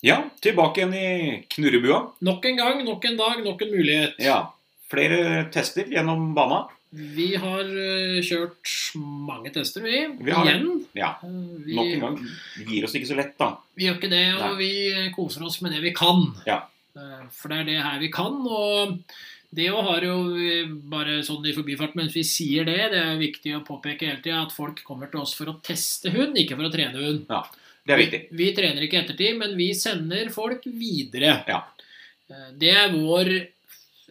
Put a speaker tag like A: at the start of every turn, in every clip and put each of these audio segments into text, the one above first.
A: Ja, tilbake igjen i knurrebua.
B: Nok en gang, nok en dag, nok en mulighet.
A: Ja, flere tester gjennom bana.
B: Vi har eh, kjørt mange tester, vi.
A: Vi har det.
B: Igjen.
A: Ja,
B: Eh, Vi,
A: Nok en gang. Vi gir oss ikke så lett, da.
B: Vi gjør ikke det, og
A: Nei.
B: vi eh, koser oss med det vi kan.
A: Ja.
B: Eh, For det er det her vi kan, og det jo har jo vi bare sånn i forbifart, mens vi sier det, det er viktig å påpeke hele tida at folk kommer til oss for å teste hund, ikke for å trene hund.
A: Det er viktig.
B: Vi, vi trener ikke ettertid, men vi sender folk videre.
A: Ja.
B: Eh, Det er vår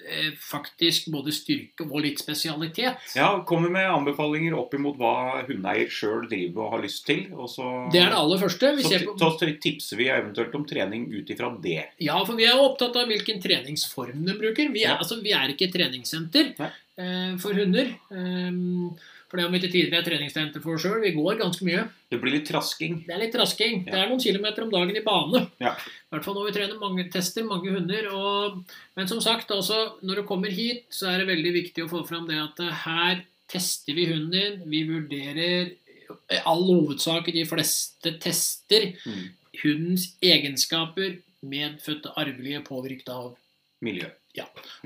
B: eh, faktisk både styrke og litt spesialitet.
A: Ja, Kommer med anbefalinger opp imot hva hundeeier sjøl driver og har lyst til. Og så,
B: Det er det aller første. Vi
A: så,
B: ser
A: ti-
B: på,
A: så tipser vi eventuelt om trening ut ifra det.
B: ja, for vi er jo opptatt av hvilken treningsform de bruker. Vi er,
A: Ja.
B: altså, vi er ikke et treningssenter
A: Nei.
B: eh, for hunder. Um, for det om vi til tider er treningssenter for oss sjøl, vi går ganske mye.
A: Det blir litt trasking.
B: Det er litt rasking.
A: Ja.
B: Det er noen kilometer om dagen i bane.
A: Ja.
B: I hvert fall når vi trener mange tester, mange hunder. Og, men som sagt, altså, når du kommer hit, så er det veldig viktig å få fram det at eh, her tester vi hunden din. Vi vurderer i all hovedsak i de fleste tester
A: Mm.
B: hundens egenskaper medfødte arvelige påvirket av
A: Miljø. Ja.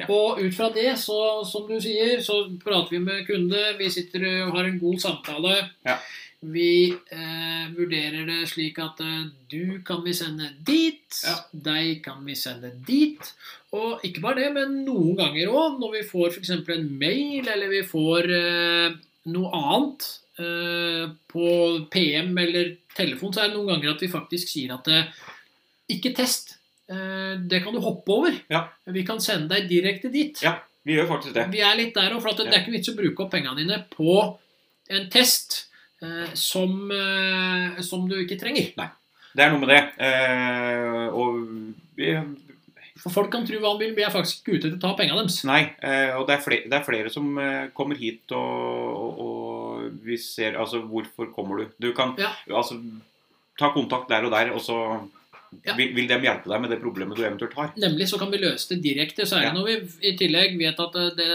B: og ut fra det, så, som du sier, så prater vi med kunde, vi sitter og har en god samtale.
A: Ja.
B: Vi eh, vurderer det slik at eh, du kan vi sende dit,
A: Ja.
B: deg kan vi sende dit. Og ikke bare det, men noen ganger òg, når vi får f.eks. en mail, eller vi får eh, noe annet eh, på PM eller telefon, så er det noen ganger at vi faktisk sier at eh, ikke test. Eh, det kan du hoppe over.
A: Ja.
B: Vi kan sende deg direkte dit.
A: Ja, Vi gjør faktisk det.
B: Vi er litt der òg, for at det er ikke vits å bruke opp pengene dine på en test eh, som, eh, som du ikke trenger.
A: Det er noe med det. Eh, og vi
B: For folk kan tro hva de vil, vi er faktisk ikke ute etter å ta pengene deres.
A: Nei, eh, og det er flere, det er flere som eh, kommer hit og, og, og vi ser Altså, hvorfor kommer du? Du kan
B: Ja.
A: altså ta kontakt der og der, og så
B: Ja.
A: vil, vil de hjelpe deg med det problemet du eventuelt har.
B: Nemlig så kan vi løse det direkte. Så er det
A: Ja.
B: når vi i tillegg vet at eh, det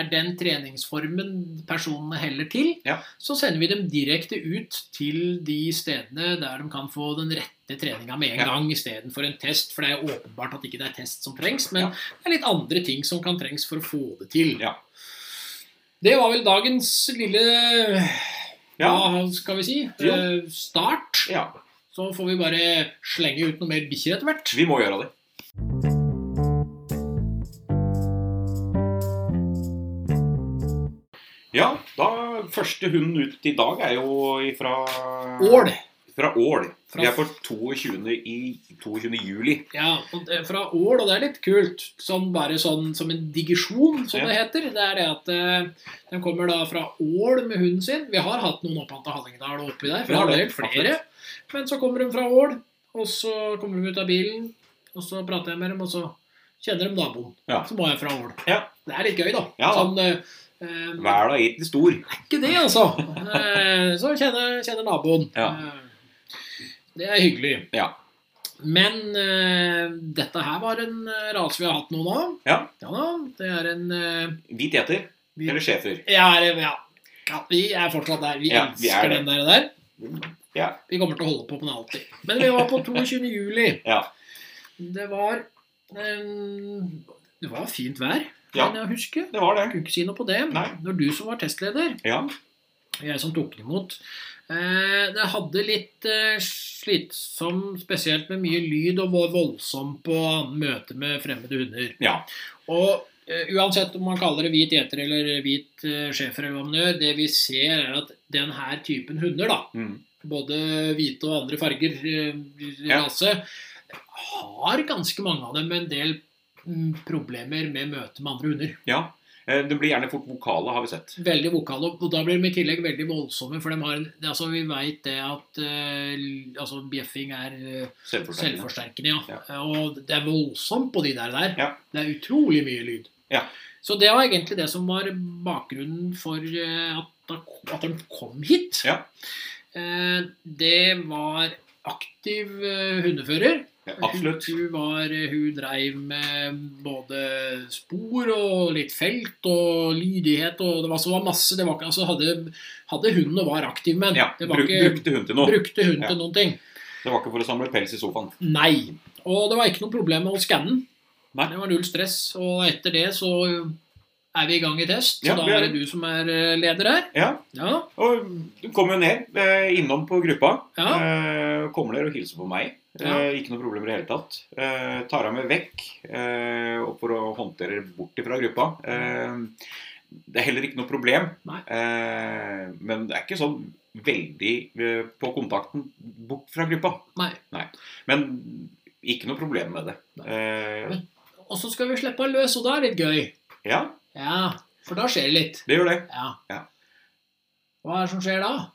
B: er den treningsformen personene heller til,
A: Ja.
B: så sender vi dem direkte ut til de stedene der de kan få den rette treninga med en
A: Ja.
B: gang istedenfor en test. For det er jo åpenbart at ikke det er test som trengs, men
A: Ja.
B: det er litt andre ting som kan trengs for å få det til.
A: Ja.
B: Det var vel dagens lille
A: Ja.
B: hva skal vi si
A: Jo.
B: eh, start.
A: ja.
B: Så får vi bare slenge ut noe mer bikkjer etter hvert.
A: Vi må gjøre det. Ja, da Første hunden ut i dag er jo ifra
B: Ål.
A: Fra Ål.
B: Fra-
A: Vi er på 22. I, 22. juli.
B: Ja, og det- fra Ål, og det er litt kult. Sånn bare sånn som en digisjon, som
A: Ja.
B: det heter. Det er det at eh, de kommer da fra Ål med hunden sin. Vi har hatt noen opphanta Hallingdal og oppi der, for
A: Vi har
B: det er
A: det,
B: helt flere. Men så kommer de fra Ål, og så kommer de ut av bilen, og så prater jeg med dem, og så kjenner de naboen.
A: Ja.
B: Som var fra Ål.
A: Ja.
B: Det er litt gøy, da.
A: Ja, da.
B: Sånn, eh, eh,
A: Verden er ikke stor.
B: det er ikke det, altså. Eh, så kjenner, kjenner naboen.
A: Ja.
B: Eh, Det er hyggelig.
A: Ja.
B: Men eh, dette her var en eh, rase vi har hatt noen av.
A: Ja.
B: da, det er en eh,
A: Hvit heter,
B: vi,
A: eller schæfer.
B: ja, eller- ja. ja, vi er fortsatt der. Vi
A: Ja, vi er
B: elsker
A: det.
B: den der, der.
A: Ja.
B: Vi kommer til å holde på med den alltid. Men vi var på 22. juli.
A: Ja.
B: Det var eh, Det var fint vær,
A: Ja.
B: kan jeg huske.
A: Det var
B: Jeg
A: det.
B: kunne ikke si noe på det.
A: Nei.
B: Når du som var testleder
A: Ja.
B: jeg som tok den imot. Eh, det hadde litt eh, slitsom, spesielt med mye lyd, og var voldsom på møte med fremmede hunder.
A: Ja.
B: Og eh, uansett om man kaller det hvit gjeter eller hvit eh, schæfer eller hva man gjør, det vi ser er at den her typen hunder, da,
A: Mm.
B: både hvite og andre farger, eh,
A: Ja.
B: rase, har ganske mange av dem en del mm, problemer med møte med andre hunder.
A: ja. Eh, Det blir gjerne fort vokale, har vi sett.
B: Veldig vokale, og da blir de i tillegg veldig voldsomme. For de har, en- altså vi veit det at eh, l- altså bjeffing er eh,
A: Selvforsterkende.
B: selvforsterkende. Ja. Og det er voldsomt på de der. der.
A: Ja.
B: Det er utrolig mye lyd.
A: Ja.
B: Så det var egentlig det som var bakgrunnen for eh, at, da- at de kom hit.
A: Ja.
B: Eh, Det var aktiv eh, hundefører.
A: Ja, Absolutt.
B: Hun, hun, var, eh, hun dreiv med både spor og litt felt og lydighet og det var, så var masse. Det var ikke, altså hadde, hadde hunden og var aktiv, men
A: Ja.
B: det
A: Bruk,
B: var ikke,
A: brukte hun til noe.
B: brukte hun
A: Ja.
B: til noen ting.
A: Det var ikke for å samle pels i sofaen.
B: Nei. Og det var ikke noe problem med å skanne den.
A: Nei.
B: Det var null stress. Og etter det så eh, er vi i gang i test. Så
A: Ja,
B: da
A: vi er
B: er det du som er eh, leder her.
A: Ja,
B: Ja.
A: Og du kom jo ned, eh, innom på gruppa.
B: Ja.
A: Eh, kommer der og hilser på meg.
B: Ja.
A: Eh, ikke noe problem i det hele tatt. Eh, tar av meg vekk eh, og for å håndtere bort ifra gruppa. Eh, det er heller ikke noe problem.
B: Nei.
A: Eh, men det er ikke sånn veldig eh, på kontakten bort fra gruppa.
B: Nei.
A: Men ikke noe problem med det.
B: Nei.
A: Eh,
B: Og så skal vi slippe han løs, og da er det litt gøy.
A: ja,
B: Ja. For da skjer det litt.
A: det gjør det.
B: Ja.
A: Ja.
B: Hva er det som skjer da?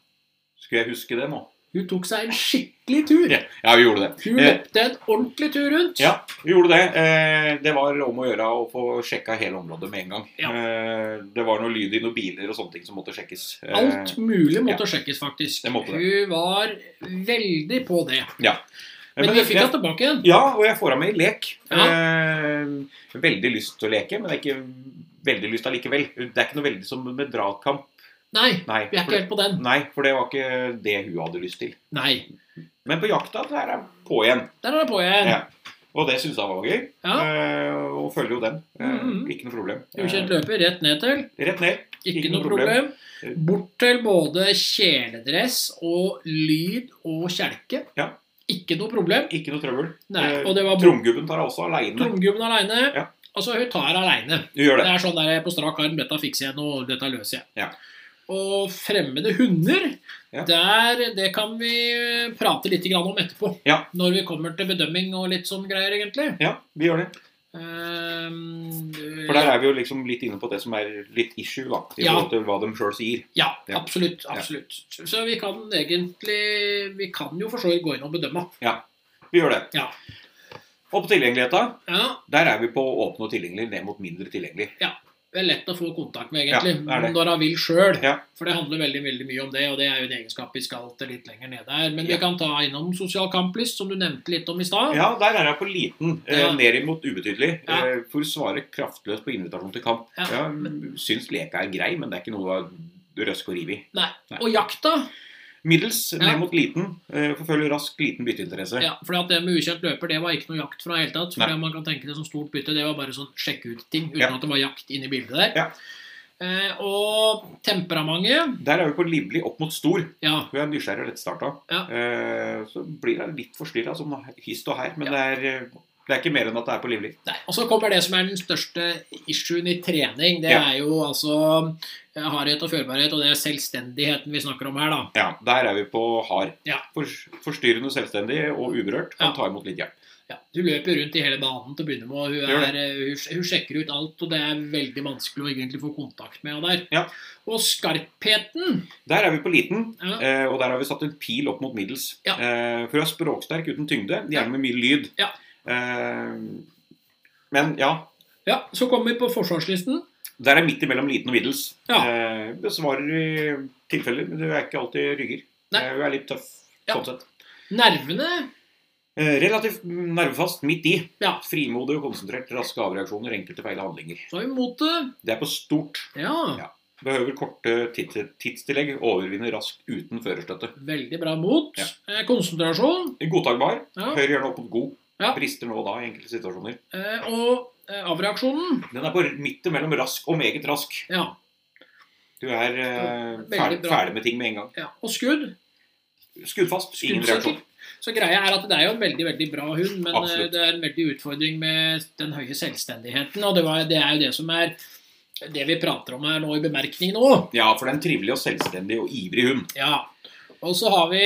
A: Skulle jeg huske det nå?
B: Hun tok seg en skikkelig tur.
A: Ja, vi gjorde det.
B: Hun
A: Eh.
B: løpte en ordentlig tur rundt.
A: Ja, vi gjorde det. Eh, det var om å gjøre å få sjekka hele området med en gang.
B: Ja.
A: Eh, det var noe lyd i noen biler og sånne ting som måtte sjekkes. Eh,
B: Alt mulig måtte sjekkes, faktisk.
A: Det måtte det.
B: Hun var veldig på det. Men,
A: men
B: vi
A: det-
B: fikk henne tilbake igjen.
A: Ja, og jeg får av meg lek. Eh, veldig lyst til å leke, men det er ikke veldig lyst allikevel. Det er ikke noe veldig som med dragkamp.
B: Nei,
A: Nei,
B: vi er
A: for
B: ikke
A: det,
B: helt på den.
A: nei, for det var ikke det hun hadde lyst til.
B: Nei.
A: Men på jakta der er hun på igjen.
B: Der er det på igjen.
A: Ja. Og det syns jeg var gøy.
B: Ja.
A: Eh, og følger jo den. Eh,
B: Mhm.
A: Ikke noe problem.
B: Ukjent løper rett ned til.
A: Eh, rett ned.
B: Ikke noe problem. Bort til både kjeledress og lyd og kjelke.
A: Ja.
B: Ikke noe problem.
A: Ikke noe trøbbel.
B: Nei,
A: Eh,
B: og det var bort
A: Tromgubben tar deg også aleine.
B: tromgubben aleine.
A: Ja.
B: Altså, hun tar aleine.
A: Du gjør
B: Det
A: det.
B: er sånn der på strak arm. Dette fikser jeg nå, dette løser jeg.
A: Ja.
B: Og fremmede hunder,
A: Ja.
B: der, det kan vi eh, prate litt grann om etterpå.
A: Ja.
B: Når vi kommer til bedømming og litt sånn greier, egentlig.
A: Ja, vi gjør det.
B: Ehm,
A: For der er vi jo liksom litt inne på det som er litt issue, da. I
B: Ja.
A: forhold til hva de sjøl sier.
B: Eh, Ja,
A: Ja.
B: absolutt. absolutt. Så vi kan egentlig Vi kan jo for så vidt gå inn og bedømme.
A: Vi gjør det.
B: Ja.
A: Og på tilgjengeligheta,
B: Ja,
A: der er vi på åpne og tilgjengelig ned mot mindre tilgjengelig.
B: Det er lett å få kontakt med, egentlig,
A: Ja, det er det.
B: når han vil sjøl.
A: Ja.
B: For det handler veldig veldig mye om det, og det er jo en egenskap vi skal til litt lenger ned der. Men
A: Ja.
B: vi kan ta innom sosial kamplyst, som du nevnte litt om i stad.
A: Ja, der er jeg på liten. Eh,
B: Ja.
A: Ned imot ubetydelig.
B: Ja.
A: Eh, for å svare kraftløst på invitasjon til kamp.
B: Ja.
A: Ja, syns leka er grei, men det er ikke noe å røske og rive i.
B: Nei.
A: Nei.
B: Og jakta.
A: Middels
B: Ja.
A: ned mot liten. Eh, forfølger rask liten bytteinteresse.
B: Ja, fordi at det med ukjent løper, det var ikke noe jakt fra i hele tatt.
A: Nei.
B: Fordi man kan tenke det som stort bytte, det var bare sånn sjekke ut ting, uten
A: Ja.
B: at det var jakt inne i bildet der.
A: Ja.
B: Eh, og temperamentet,
A: Der er vi på livlig opp mot stor.
B: ja.
A: Hun er nysgjerrig og lettstarta.
B: Ja.
A: Eh, så blir hun litt forstyrra, sånn hist og her. Men det, er, eh, det er ikke mer enn at det er på livlig.
B: Nei, Og så kommer det som er den største issuen i trening. Det
A: Ja.
B: er jo altså eh, hardhet og førbarhet, og det er selvstendigheten vi snakker om her, da.
A: Ja, der er vi på hard.
B: Ja.
A: For, forstyrrende selvstendig og uberørt. Kan
B: Ja.
A: ta imot litt hjelp.
B: Ja, du løper rundt i hele banen til å begynne med, og hun,
A: Gjør
B: er, eh, hun, hun sjekker ut alt, og det er veldig vanskelig å egentlig få kontakt med henne der.
A: Ja.
B: Og skarpheten
A: Der er vi på liten,
B: Ja.
A: eh, og der har vi satt en pil opp mot middels.
B: Ja.
A: Eh, for hun er språksterk uten tyngde, gjerne med mye lyd.
B: Ja.
A: Eh, men ja,
B: Ja, så kommer vi på forsvarslisten.
A: der er midt imellom liten og middels.
B: Ja.
A: Eh, besvarer i tilfeller, men du er ikke alltid rygger.
B: Nei.
A: Eh, hun er litt tøff
B: Ja.
A: sånn sett.
B: Nervene
A: Eh, Relativt nervefast midt i.
B: Ja.
A: Frimodig og konsentrert, raske avreaksjoner, enkelte feil handlinger.
B: så er vi mot det.
A: Det er på stort.
B: Ja,
A: Ja. Behøver korte tids tidstillegg, overvinner raskt uten førerstøtte.
B: veldig bra mot.
A: Ja.
B: Eh, Konsentrasjon.
A: Godtakbar.
B: Ja.
A: Hører gjerne opp mot god.
B: Ja.
A: Brister nå og da i enkelte situasjoner.
B: Eh, Og eh, avreaksjonen.
A: Den er på midten mellom rask og meget rask.
B: Ja.
A: Du er eh,
B: Veldig
A: ferdig,
B: bra.
A: ferdig med ting med en gang.
B: ja. Og skudd.
A: Skuddfast. Ingen reaksjon.
B: Skuddsikker. Så greia er at det er jo en veldig veldig bra hund, men eh,
A: Absolutt.
B: det er en veldig utfordring med den høye selvstendigheten. Og det, var, det er jo det som er det vi prater om her nå i bemerkningen òg.
A: Ja, for det er en trivelig og selvstendig og ivrig hund.
B: Ja. Og så har vi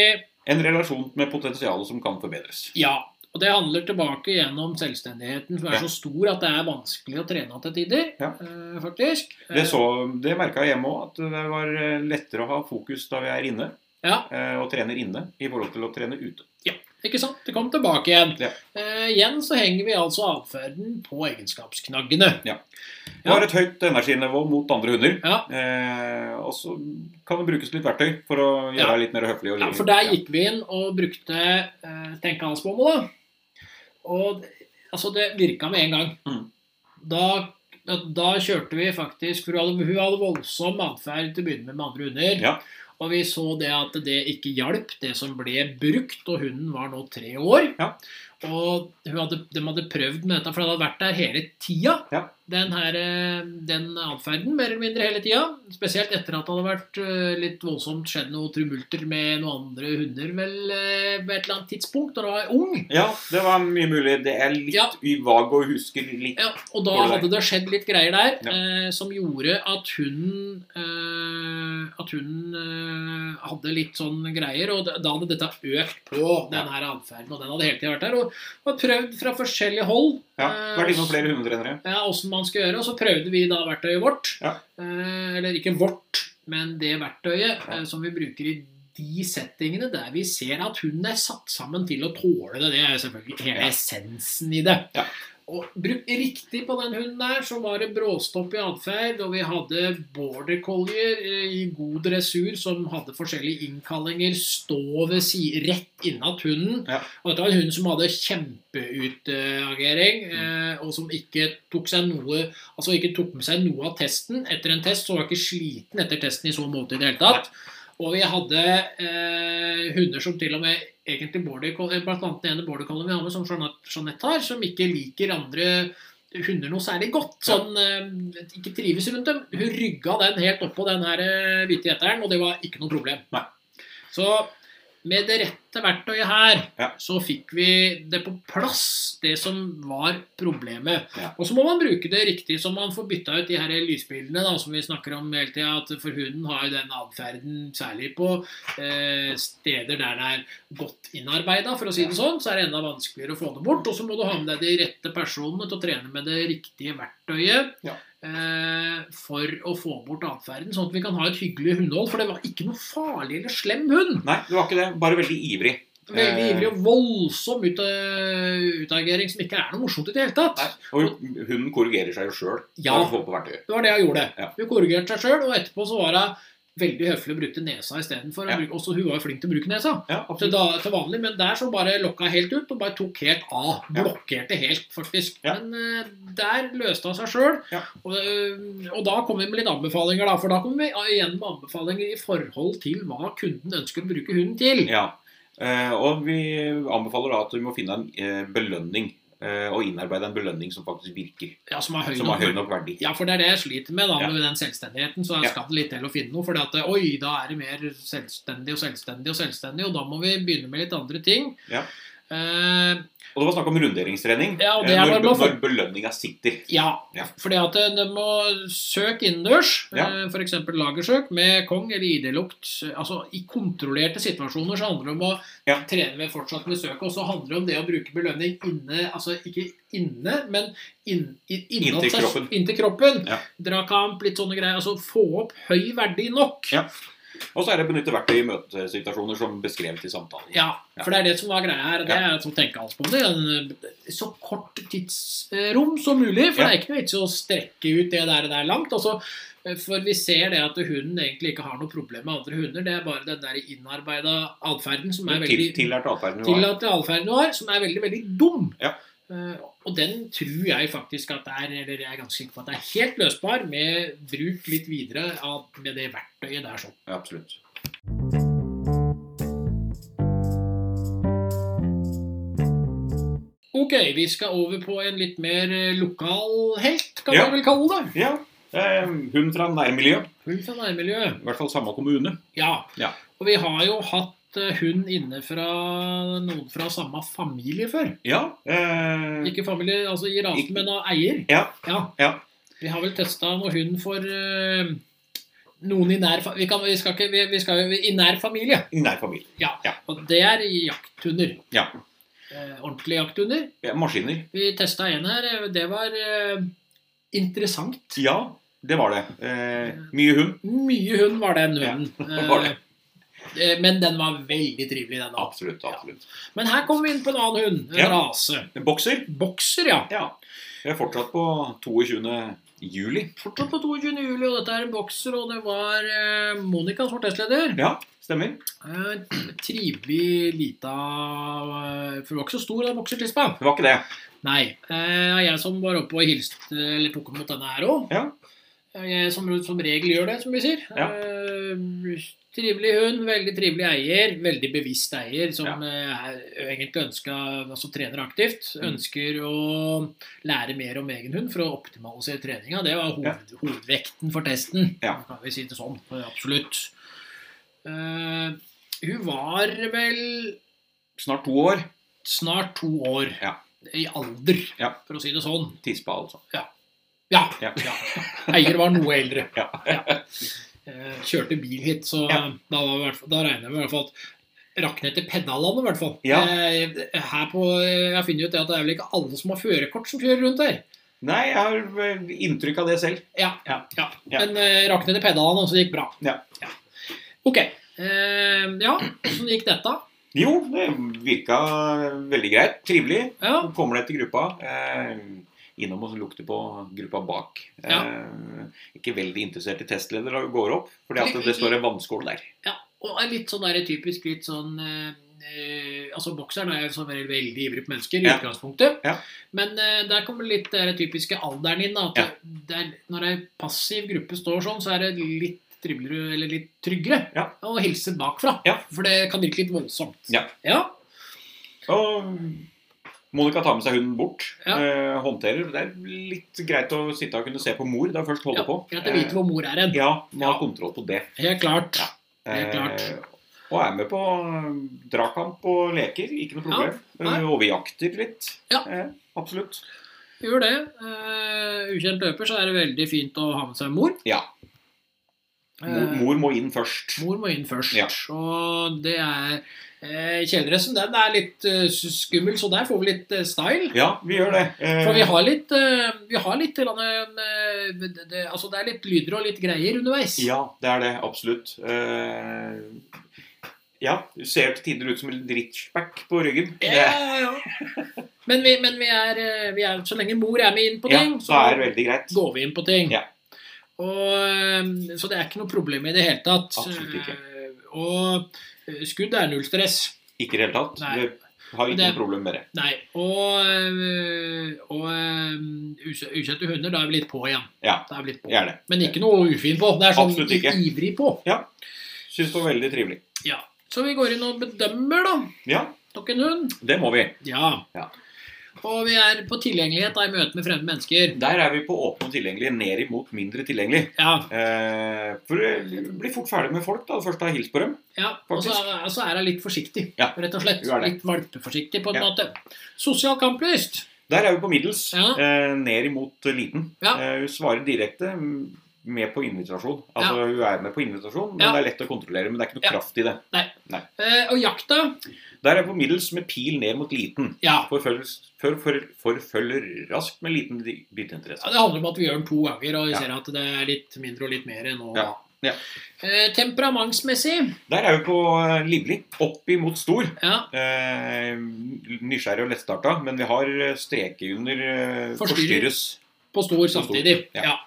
A: En relasjon med potensial som kan forbedres.
B: Ja. Og det handler tilbake gjennom selvstendigheten, som er
A: Ja.
B: så stor at det er vanskelig å trene til tider,
A: Ja.
B: eh, faktisk.
A: Det, så, det merka jeg hjemme òg, at det var eh, lettere å ha fokus da vi er inne.
B: Ja.
A: eh, Og trener inne i forhold til å trene ute.
B: Ikke sant? Det kom tilbake igjen.
A: Ja.
B: Eh, igjen så henger vi altså atferden på egenskapsknaggene.
A: Det har et høyt energinivå mot andre hunder.
B: Ja.
A: Eh, og så kan det brukes litt verktøy for å gjøre
B: Ja.
A: deg litt mer høflig. Og
B: Ja,
A: livlig.
B: for der gikk vi inn og brukte eh, tenkehalsbomma, da. Og det- altså, det virka med en gang.
A: Mm.
B: Da, da, da kjørte vi faktisk For hun hadde, hun hadde voldsom atferd til å begynne med med andre hunder.
A: Ja.
B: Og vi så det at det ikke hjalp, det som ble brukt. Og hunden var nå tre år.
A: Ja.
B: Og hun hadde, de hadde prøvd med dette, for den hadde vært der hele tida.
A: Ja.
B: Den, her, eh, den atferden, mer eller mindre hele tida. Spesielt etter at det hadde vært eh, litt voldsomt skjedd noe trumulter med noen andre hunder vel eh, ved et eller annet tidspunkt, da hun var ung.
A: Ja, det var mye mulig. Det er litt
B: Ja.
A: vag å huske litt.
B: Ja, og da
A: Går det der?
B: hadde det skjedd litt greier der
A: Ja.
B: eh, som gjorde at hunden eh, At hunden eh, hadde litt sånn greier, og da da hadde dette økt på den her atferden. Og den hadde hele tida vært der. Og, og prøvd fra forskjellige hold
A: Ja,
B: eh,
A: Vært innom flere hundetrenere.
B: ja, åssen man skal gjøre. Og så prøvde vi da verktøyet vårt.
A: Ja.
B: Eh, eller ikke vårt, men det verktøyet
A: Ja.
B: eh, som vi bruker i de settingene der vi ser at hunden er satt sammen til å tåle det. Det er jo selvfølgelig hele
A: Ja.
B: essensen i det.
A: Ja.
B: Og bruk riktig på den hunden der, så var det bråstopp i atferd. Og vi hadde border collier eh, i god dressur som hadde forskjellige innkallinger. Stå ved si rett innat hunden. Og dette var en hund som hadde kjempeutagering, eh, og som ikke tok, seg noe, altså ikke tok med seg noe av testen. Etter en test så var hun ikke sliten etter testen i så måte i det hele tatt. Og vi hadde eh, hunder som til og med egentlig border, coll- eh, blant annet den ene border collien vi har med, som Jeanette, Jeanette har, som ikke liker andre hunder noe særlig godt. Sånn, eh, ikke trives rundt dem. Hun rygga den helt oppå den her eh, hvite gjeteren, og det var ikke noe problem.
A: Nei.
B: Så med det rette verktøyet her,
A: Ja.
B: så fikk vi det på plass, det som var problemet.
A: Ja.
B: Og så må man bruke det riktig, så man får bytta ut de her lysbildene da, som vi snakker om hele tida. at For hunden har jo den atferden, særlig på eh, steder der den er godt innarbeida, for å si det sånn, så er det enda vanskeligere å få det bort. Og så må du ha med deg de rette personene til å trene med det riktige verktøyet.
A: Ja.
B: eh, For å få bort atferden, sånn at vi kan ha et hyggelig hundehold. For det var ikke noe farlig eller slem hund.
A: Nei, det var ikke det. Bare veldig ivrig.
B: Veldig
A: Eh.
B: ivrig og voldsom ut, eh, utagering som ikke er noe morsomt i det hele tatt.
A: Nei. Og hunden korrigerer seg jo sjøl.
B: Ja.
A: verktøyet.
B: Det var det hun gjorde.
A: Ja.
B: Hun korrigerte seg sjøl, og etterpå så var hun veldig høflig og brukte nesa istedenfor.
A: Ja.
B: Ja. Også hun var jo flink til å bruke nesa.
A: Ja,
B: Til,
A: absolutt.
B: da, til vanlig, men der så bare lokka helt ut og bare tok helt av.
A: Ja.
B: Blokkerte helt, faktisk.
A: Ja.
B: Men eh, der løste hun seg sjøl.
A: Ja.
B: Og, eh, og da kom vi med litt anbefalinger, da. For da kom vi igjen med anbefalinger i forhold til hva kunden ønsker å bruke hunden til.
A: Ja. Eh, og vi anbefaler da at du må finne en eh, belønning. eh, og innarbeide en belønning som faktisk virker.
B: Ja, som har høy
A: Som
B: nok
A: har høy nok verdi.
B: Ja, for det er det jeg sliter med da,
A: Ja.
B: med den selvstendigheten. Så
A: Ja.
B: skal det litt til å finne noe. For oi, da er det mer selvstendig og selvstendig og selvstendig. Og da må vi begynne med litt andre ting.
A: Ja.
B: Eh,
A: Og det var snakk om runderingstrening.
B: Ja, og det
A: eh,
B: er
A: når,
B: bare å
A: når
B: få-
A: belønninga sitter.
B: ja.
A: Ja.
B: Fordi at eh, det må søke innendørs,
A: Ja.
B: eh, f.eks. lagersøk med kong eller ID-lukt. Altså i kontrollerte situasjoner så handler det om å
A: Ja.
B: trene med fortsatt med søk. Og så handler det om det å bruke belønning inne, altså ikke inne, men inn, inn, innad
A: Inntil
B: seg-
A: kroppen.
B: Inntil kroppen.
A: Ja.
B: Dra kamp, litt sånne greier. Altså få opp høy verdi nok.
A: Ja. Og så er det å benytte verktøy i møtesituasjoner som beskrevet i samtalen.
B: Ja, for det er det som var greia her. og Det er som tenkehalsbom. Det er en Så kort tidsrom som mulig. For
A: Ja.
B: det er ikke noe vits i å strekke ut det der, der langt. Altså, for vi ser det at hunden egentlig ikke har noe problem med andre hunder. Det er bare den der innarbeida atferden som er
A: Men
B: veldig
A: til, tillært atferden du har.
B: tillatt atferden du har, som er veldig, veldig dum.
A: Ja.
B: Eh, og den tror jeg faktisk at det er eller jeg er ganske sikker på at det er helt løsbar med bruk litt videre av, med det verktøyet der. sånn.
A: Ja, absolutt.
B: Ok, vi skal over på en litt mer eh, lokal helt, kan
A: Ja.
B: man vel kalle det.
A: Ja. Eh, hun fra nærmiljø.
B: Hund fra nærmiljøet.
A: I hvert fall samme kommune.
B: Ja.
A: Ja.
B: Og vi har jo hatt eh, hund inne fra noen fra samme familie før.
A: Ja. Eh,
B: Ikke familie altså i rasen,
A: Ikke-
B: men av eier.
A: Ja. Ja.
B: Vi har vel testa noe hund for eh, noen i nær fa- vi, kan, vi skal ikke vi, vi skal jo i nær familie.
A: i nær familie.
B: Og det er jakthunder.
A: Ja.
B: Eh, ordentlige jakthunder.
A: Ja, maskiner.
B: Vi testa en her. eh, Det var eh, interessant.
A: Ja, det var det. Eh, mye hund.
B: Mye hund var den hunden.
A: det var det.
B: Eh, Men den var veldig trivelig, den òg.
A: Absolutt. absolutt.
B: Men her kommer vi inn på en annen hund. En
A: Ja.
B: rase.
A: Bokser.
B: Bokser, ja.
A: Ja. Vi er fortsatt på 22. juli.
B: Fortsatt på 22. juli, og dette er en bokser, og det var eh, Monica som var testleder.
A: Ja, stemmer.
B: Eh, Trivelig lita eh, For hun var ikke så stor, den boksertispa.
A: Det var ikke det.
B: Nei. Eh, jeg som var oppe og hilste, eller tok imot denne her òg.
A: Ja.
B: Jeg som som regel gjør det, som vi sier.
A: Ja.
B: Eh, Trivelig hund, veldig trivelig eier, veldig bevisst eier som
A: Ja.
B: eh, er egentlig ønska, altså trener aktivt.
A: Mm.
B: Ønsker å lære mer om egen hund for å optimalisere treninga. Det
A: Ja.
B: var hoved, hovedvekten for testen,
A: Ja.
B: kan vi si det sånn. eh, Absolutt. Eh, hun var vel
A: Snart to år.
B: snart to år
A: Ja.
B: i alder,
A: Ja.
B: for å si det sånn.
A: Tispa, altså.
B: Ja.
A: Ja.
B: ja. Eier var noe eldre.
A: Ja.
B: Eh, Kjørte bil hit, så
A: Ja.
B: da, var vi i hvert fall, da regner vi i hvert fall at Rakk ned til pedalene, i hvert fall.
A: Ja.
B: Eh, Her på, jeg finner ut det at det er vel ikke alle som har førerkort som kjører rundt her.
A: Nei, jeg har eh, inntrykk av det selv.
B: Ja.
A: Ja. Ja.
B: Men eh, rakk ned til pedalene, og så gikk bra.
A: Ja.
B: Ok. Eh, ja, åssen gikk dette?
A: Jo, det virka veldig greit. Trivelig.
B: Ja.
A: Så kommer det til gruppa. Eh, innom og lukter på gruppa bak.
B: Ja.
A: Eh, ikke veldig interessert i testleder da vi går opp, fordi at det står en vannskål der.
B: Ja, og er litt sånn der, typisk litt sånn eh, eh, Altså Bokseren er jo sånn veldig, veldig ivrig på mennesker i
A: Ja.
B: utgangspunktet.
A: Ja.
B: Men eh, der kommer litt den typiske alderen inn. da, at det er, Når ei passiv gruppe står sånn, så er det litt triveligere eller litt tryggere
A: Ja.
B: å hilse bakfra.
A: Ja.
B: For det kan virke litt voldsomt.
A: Ja. Og Monica tar med seg hunden bort.
B: Ja.
A: Eh, håndterer. Det er litt greit å sitte og kunne se på mor. Da først holder
B: ja,
A: på.
B: Greit å vite hvor mor er hen.
A: Eh, ja, må ha
B: Ja.
A: kontroll på det.
B: Helt klart.
A: Ja.
B: Helt klart.
A: Eh, og er med på eh, dragkamp og leker. Ikke noe problem.
B: nei.
A: Eh, og vi jakter litt.
B: Ja.
A: Eh, absolutt.
B: Gjør det. Eh, ukjent løper, så er det veldig fint å ha med seg mor.
A: Ja. Mor,
B: Eh,
A: mor må inn først.
B: Mor må inn først.
A: Ja.
B: Og det er eh, Kjeledressen den er litt eh, skummel, så der får vi litt eh, style.
A: Ja, vi gjør det. Eh,
B: For vi har litt, eh, vi har litt eller annet, eh, det, det, altså Det er litt lyder og litt greier underveis.
A: Eh, Ja, det er det. Absolutt. Eh, ja, du ser til tider ut som en drittspekk på ryggen.
B: Ja, ja, ja. Men, vi, men vi, er, eh, vi er Så lenge mor er med inn på
A: ja,
B: ting,
A: så er det veldig greit.
B: går vi inn på ting.
A: Ja.
B: Og, eh, så det er ikke noe problem i det hele tatt.
A: Absolutt ikke.
B: Eh, Og eh, skudd er null stress.
A: Ikke i det hele tatt.
B: Nei.
A: Vi har ikke
B: Det-
A: noe problem med det.
B: Nei, og, øh, og øh, us- ukjente hunder, da er vi litt på igjen.
A: Ja.
B: Da er vi litt på.
A: Det er det.
B: Men ikke noe ufin på. Det er sånn
A: Absolutt ikke.
B: ivrig på.
A: Syns det var veldig trivelig.
B: Ja. Så vi går inn og bedømmer, da.
A: Ja,
B: Nok en hund.
A: det må vi.
B: Ja.
A: Ja.
B: Og vi er på tilgjengelighet da, i møte med fremmede mennesker.
A: Der er vi på åpne og tilgjengelig, ned imot mindre tilgjengelig.
B: Ja.
A: Eh, for du blir fort ferdig med folk da, først har hilst på dem.
B: ja. Og så er, og så er hun litt forsiktig,
A: Ja.
B: rett og slett.
A: Hun er det.
B: Litt valpeforsiktig, på en
A: Ja.
B: måte. Sosial kamplyst.
A: Der er vi på middels,
B: Ja.
A: eh, ned imot liten.
B: Ja.
A: Eh, hun svarer direkte mm, med på invitasjon. Altså hun er med på invitasjon, men
B: Ja.
A: det er lett å kontrollere. Men det er ikke noe
B: Ja.
A: kraft i det.
B: Eh, og jakta.
A: Der er vi på middels med pil ned mot liten.
B: Ja.
A: Forfølges- for, for, forfølger raskt med liten di- bytteinteresse.
B: Ja, Det handler om at vi gjør den to ganger, og vi
A: Ja.
B: ser at det er litt mindre og litt mer nå.
A: Ja. Ja.
B: Eh, temperamentsmessig
A: Der er vi på eh, livlig, opp imot stor.
B: ja,
A: Eh, nysgjerrig og lettstarta, men vi har eh, streke under eh,
B: Forstyrrer.
A: forstyrres.
B: på stor
A: stor,
B: samtidig.
A: ja.
B: Ja.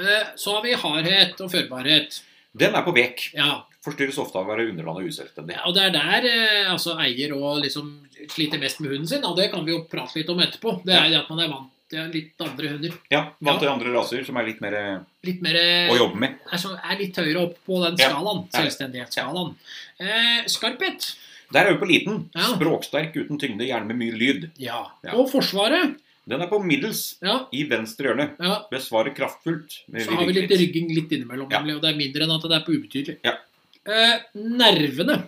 B: Eh, så har vi hardhet og førbarhet.
A: Den er på vek.
B: Ja.
A: Forstyrres ofte av å være underlandet og uselvstendig.
B: Og det er der eh, altså, eier og liksom sliter mest med hunden sin, og det kan vi jo prate litt om etterpå. Det er det at man er vant til litt andre hunder.
A: Ja,
B: Ja.
A: Vant til andre raser som er litt mer eh,
B: Litt mer
A: å
B: eh,
A: jobbe med.
B: er, så, er litt høyere opp på den
A: Ja.
B: skalaen.
A: Ja.
B: Selvstendighetsskalaen. Eh, skarphet.
A: Der er vi på liten.
B: Ja.
A: Språksterk uten tyngde, gjerne med mye lyd.
B: Ja.
A: Ja.
B: Og Forsvaret.
A: Den er på middels
B: Ja.
A: i venstre hjørne.
B: ja.
A: Besvarer kraftfullt. med
B: Så har vi litt
A: virkelig.
B: rygging litt innimellom,
A: Ja.
B: nemlig, og det er mindre enn at det er på ubetydelig.
A: Ja.
B: Eh, nervene.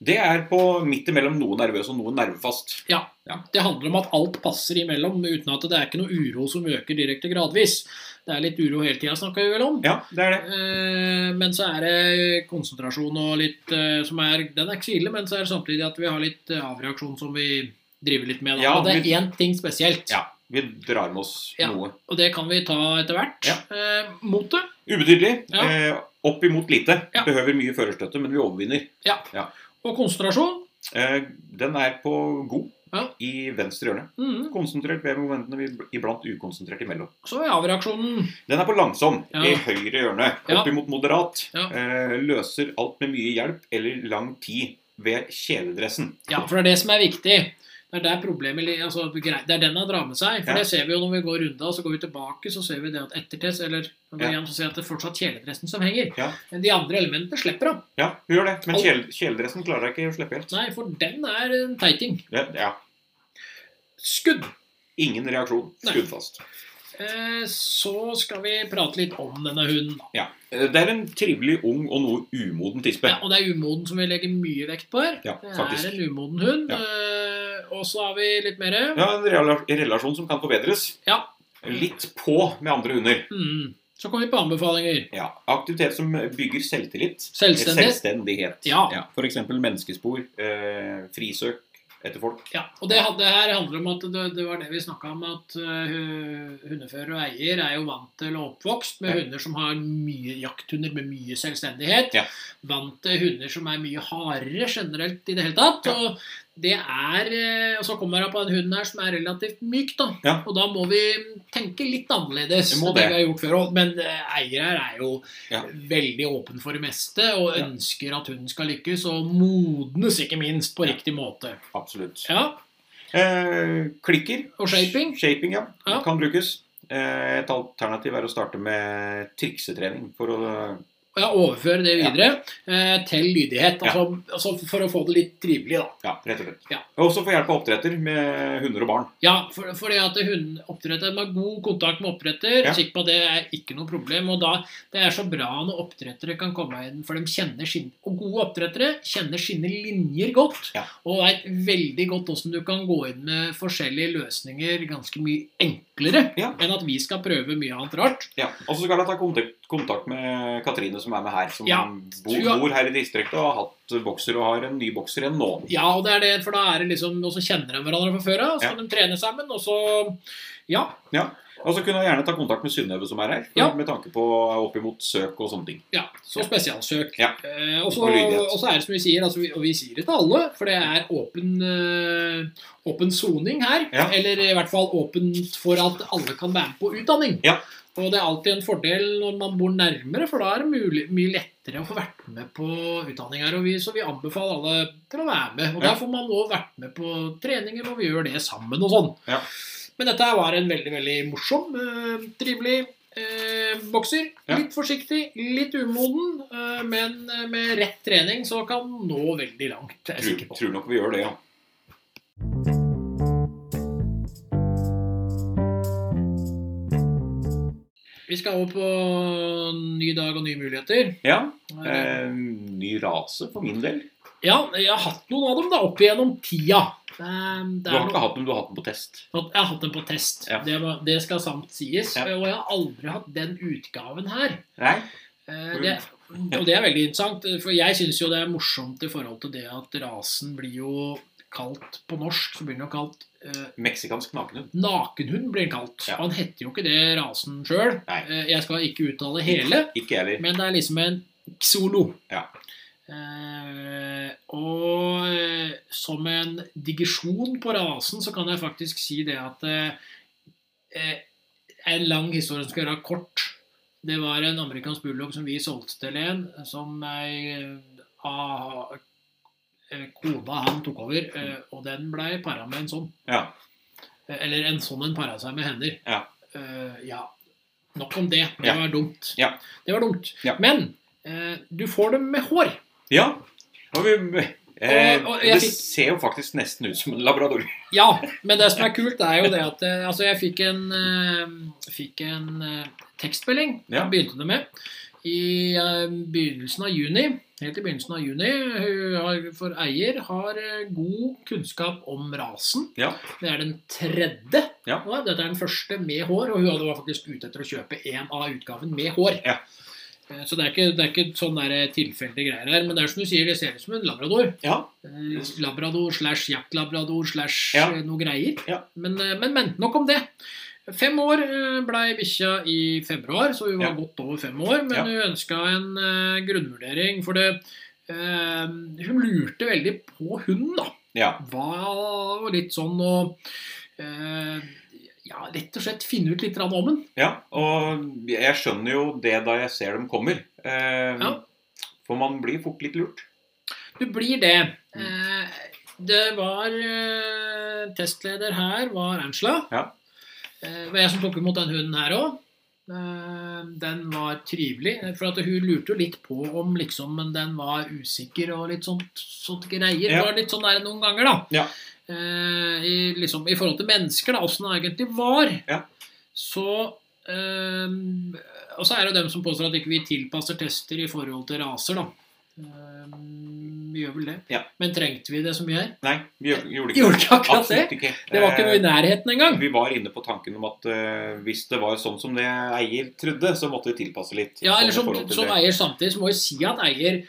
A: Det er på midt imellom noe nervøs og noe nervefast.
B: Det handler om at alt passer imellom, uten at det er ikke noe uro som øker direkte gradvis. Det er litt uro hele tida, snakker vi vel om.
A: Ja, det er det.
B: Eh, men så er det konsentrasjon og litt eh, som er Den er ikke så ille, men så er det samtidig at vi har litt eh, avreaksjon som vi driver litt med. Da.
A: Ja,
B: og det er
A: vi-
B: én ting spesielt,
A: Ja. Vi drar med oss
B: Ja.
A: noe.
B: og det kan vi ta etter hvert.
A: Ja.
B: Eh, Motet.
A: Ubetydelig.
B: Ja.
A: Eh, opp imot lite.
B: Ja.
A: Behøver mye førerstøtte, men vi overvinner.
B: Og konsentrasjon.
A: Eh, den er på god
B: Ja.
A: i venstre hjørne.
B: Mhm.
A: Konsentrert ved momentene, vi- iblant ukonsentrert imellom.
B: Så er avreaksjonen
A: Den er på langsom
B: Ja.
A: i høyre hjørne,
B: Ja.
A: opp imot moderat.
B: Ja.
A: Eh, løser alt med mye hjelp eller lang tid ved kjeledressen.
B: Ja, for det er det som er viktig. Det er der problemet li- altså, grei- Det er den han drar med seg. For
A: Ja.
B: det ser vi jo når vi går runda, så går vi tilbake, så ser vi det at ettertest Eller når vi går
A: Ja.
B: igjen, så ser vi at det er fortsatt kjeledressen som henger.
A: Ja.
B: Men de andre elementene slipper han.
A: Ja, hun gjør det. Men
B: Alt.
A: kjel, kjeledressen klarer jeg ikke å slippe helt.
B: Nei, for den er en teiting.
A: Det, ja.
B: Skudd.
A: Ingen reaksjon.
B: Nei.
A: Skudd fast.
B: Eh, så skal vi prate litt om denne hunden.
A: Ja. Eh, Det er en trivelig ung og noe umoden tispe.
B: Ja, og det er umoden som vi legger mye vekt på her.
A: Ja,
B: det
A: faktisk.
B: er en umoden hund.
A: Ja.
B: Eh, og så har vi litt mer.
A: Ja, en rela- relasjon som kan forbedres.
B: Ja.
A: Litt på med andre hunder.
B: Mm. Så kommer vi på anbefalinger.
A: Ja. Aktivitet som bygger selvtillit.
B: Selvstendighet.
A: Selvstendighet.
B: Ja.
A: Ja. For eksempel menneskespor. Eh, frisøk etter folk.
B: Ja, og det, hadde- det her handler om at det, det var det vi snakka om, at eh, hundefører og eier er jo vant til og oppvokst med
A: Ja.
B: hunder som har mye jakthunder med mye selvstendighet.
A: Ja.
B: Vant til hunder som er mye hardere generelt i det hele tatt.
A: Ja.
B: Og det er eh, Og så kommer jeg på en hund her som er relativt myk, da.
A: Ja.
B: Og da må vi tenke litt annerledes
A: Vi må
B: enn det
A: det.
B: vi har gjort før. Og- Men eh, eier her er jo
A: Ja.
B: veldig åpen for det meste og
A: Ja.
B: ønsker at hunden skal lykkes, og modnes ikke minst på
A: Ja.
B: riktig måte.
A: Absolutt.
B: Ja.
A: Eh, klikker.
B: Og shaping?
A: Shaping, ja.
B: Ja.
A: Kan brukes. Eh, et alternativ er å starte med triksetrening for å
B: Og jeg overfører det videre eh, til lydighet.
A: Ja.
B: Altså, altså for å få det litt trivelig, da.
A: Ja, rett og slett.
B: Ja.
A: Og også få hjelp av oppdretter med hunder og barn.
B: Ja, for, for det at hundeoppdretter har god kontakt med oppdretter,
A: Ja.
B: sikker på at det er ikke noe problem. Og da, det er så bra når oppdrettere kan komme inn, for de kjenner sin, og gode oppdrettere kjenner sine linjer godt.
A: Ja.
B: Og veit veldig godt åssen du kan gå inn med forskjellige løsninger ganske mye enklere
A: Ja.
B: enn at vi skal prøve mye annet rart.
A: Ja. Og så skal jeg ta kontakt, kontakt med Katrine, som er med her. Som
B: Ja.
A: bor, bor her i distriktet og har hatt bokser og har en ny bokser igjen nå.
B: Ja, og det er det, for da er det liksom Og så kjenner de hverandre fra før av, og så
A: Ja.
B: kan de trene sammen, og så Ja.
A: Og så kunne jeg gjerne ta kontakt med Synnøve, som er her, for,
B: Ja.
A: med tanke på oppimot søk og sånne ting.
B: ja så
A: Ja.
B: spesialsøk.
A: Ja.
B: Eh, og, så,
A: Og lydighet.
B: og så er det som vi sier, altså, vi, og vi sier det til alle, for det er åpen eh, åpen soning her.
A: Ja.
B: Eller i hvert fall åpent for at alle kan være med på utdanning.
A: Ja.
B: Og det er alltid en fordel når man bor nærmere, for da er det mulig, mye lettere å få vært med på utdanning her. Og vi, så vi anbefaler alle til å være med. Og
A: Ja.
B: der får man også vært med på treninger, og vi gjør det sammen og sånn.
A: Ja.
B: Men dette her var en veldig, veldig morsom, eh, trivelig eh, bokser.
A: Ja.
B: Litt forsiktig, litt umoden, eh, men eh, med rett trening så kan den nå veldig langt. er jeg
A: Tror,
B: sikker på.
A: tror nok vi gjør det, ja.
B: Vi skal over på ny dag og nye muligheter.
A: Ja, eh, Ny rase for min del.
B: Ja, jeg har hatt noen av dem da, opp igjennom tida. Eh,
A: Du
B: Det
A: har
B: er
A: ikke
B: noe,
A: hatt den, du har hatt den på test.
B: jeg har hatt den på test.
A: Ja.
B: Det, var, det skal sant sies.
A: Ja.
B: Og jeg har aldri hatt den utgaven her.
A: Nei?
B: Eh, Det, og det er veldig interessant, for jeg syns jo det er morsomt i forhold til det at rasen blir jo kalt på norsk, så blir den jo kalt eh,
A: Meksikansk nakenhund.
B: Nakenhund blir den kalt.
A: Ja.
B: Han heter jo ikke det rasen sjøl.
A: Nei.
B: Jeg skal ikke uttale hele,
A: Ikke jeg heller.
B: men det er liksom en solo.
A: Ja.
B: Eh, og eh, som en digresjon på rasen, så kan jeg faktisk si det at eh, eh, En lang historie som skal gjøre kort. Det var en amerikansk bulldog som vi solgte til en, som ei eh, ah, eh, kona han tok over, eh, og den blei para med en sånn.
A: Ja.
B: Eh, Eller en sånn en para seg med hender.
A: Ja.
B: Eh, ja. Nok om det. Det
A: Ja.
B: var dumt.
A: Ja.
B: Det var dumt.
A: Ja.
B: Men eh, du får dem med hår.
A: ja. Og vi, eh,
B: Og- og jeg
A: det
B: fikk-
A: ser jo faktisk nesten ut som en labrador.
B: Ja, men det som er kult, er jo det at eh, Altså, jeg fikk en, eh, fikk en eh, tekstmelding.
A: Ja.
B: Jeg begynte det med. I eh, begynnelsen av juni. Helt i begynnelsen av juni. Hun har- For eier har eh, god kunnskap om rasen.
A: Ja.
B: Det er den tredje.
A: Ja.
B: nå. Dette er den første med hår, og hun hadde var faktisk ute etter å kjøpe en av utgaven med hår.
A: Ja.
B: Eh, Så det er ikke, det er ikke sånn der, eh, tilfeldige greier her. Men det er som du sier, det ser ut som en labrador.
A: Ja.
B: Eh, Labrador slash jaktlabrador slash
A: Ja.
B: eh, noe greier.
A: Ja.
B: Men, eh, men, men. Nok om det. Fem år eh, blei bikkja i februar, så hun var
A: Ja.
B: godt over fem år. Men
A: Ja.
B: hun ønska en eh, grunnvurdering, for det eh, Hun lurte veldig på hunden, da.
A: ja.
B: Hva og litt sånn og eh, Ja, rett og slett finne ut litt grann om den.
A: Ja, og jeg skjønner jo det da jeg ser dem kommer. Eh,
B: Ja.
A: For man blir fort litt lurt.
B: Du blir det. Eh, Det var eh, Testleder her var Angela.
A: Ja.
B: Eh, det var jeg som tok imot den hunden her òg. Eh, den var trivelig. eh, For at hun lurte jo litt på om liksom Men den var usikker og litt sånt, sånt
A: Ja.
B: greier. Det var litt sånn der noen ganger, da.
A: Ja.
B: Eh, i, liksom, I forhold til mennesker, da, åssen det egentlig var.
A: Ja.
B: Så Ehm, og så er det jo dem som påstår at ikke vi tilpasser tester i forhold til raser, da. Ehm, vi gjør vel det.
A: Ja.
B: Men trengte vi det så mye her?
A: Nei, vi gjør- gjorde ikke
B: Gjorde ikke akkurat det.
A: Absolutt ikke.
B: Det var ikke noe i
A: Eh,
B: nærheten engang.
A: Vi var inne på tanken om at eh, hvis det var sånn som det eier trodde, så måtte vi tilpasse litt.
B: Ja,
A: sånn
B: eller
A: i
B: som,
A: forhold til
B: som
A: det.
B: eier samtidig, så må vi si at eier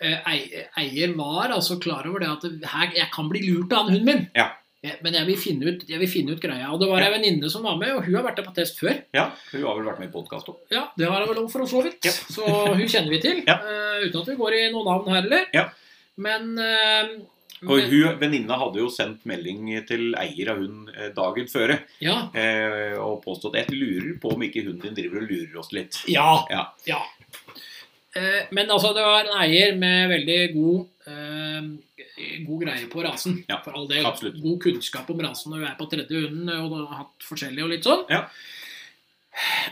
B: eh, ei- Eier var altså klar over det at det- her, jeg kan bli lurt av den hunden min.
A: Ja.
B: Jeg- Men jeg vil, finne ut, jeg vil finne ut greia. Og det var
A: Ja.
B: ei venninne som var med, og hun har vært der på test før.
A: Ja, hun har vel vært med i podkast òg.
B: Ja, det har jeg vel lov for å så vidt.
A: Ja.
B: Så hun kjenner vi til.
A: Ja.
B: eh, uten at vi går i noen navn her heller.
A: Ja.
B: Men, eh,
A: Og
B: men
A: hun, venninna hadde jo sendt melding til eier av hun eh, dagen føre
B: ja,
A: eh, og påstått jeg lurer på om ikke hunden din driver og lurer oss litt.
B: Ja.
A: Ja.
B: Eh, Men altså, det var en eier med veldig god eh, God greie på rasen.
A: Ja,
B: for all del.
A: absolutt.
B: God kunnskap om rasen når du er på tredje hunden og du har hatt forskjellige og litt sånn.
A: Ja.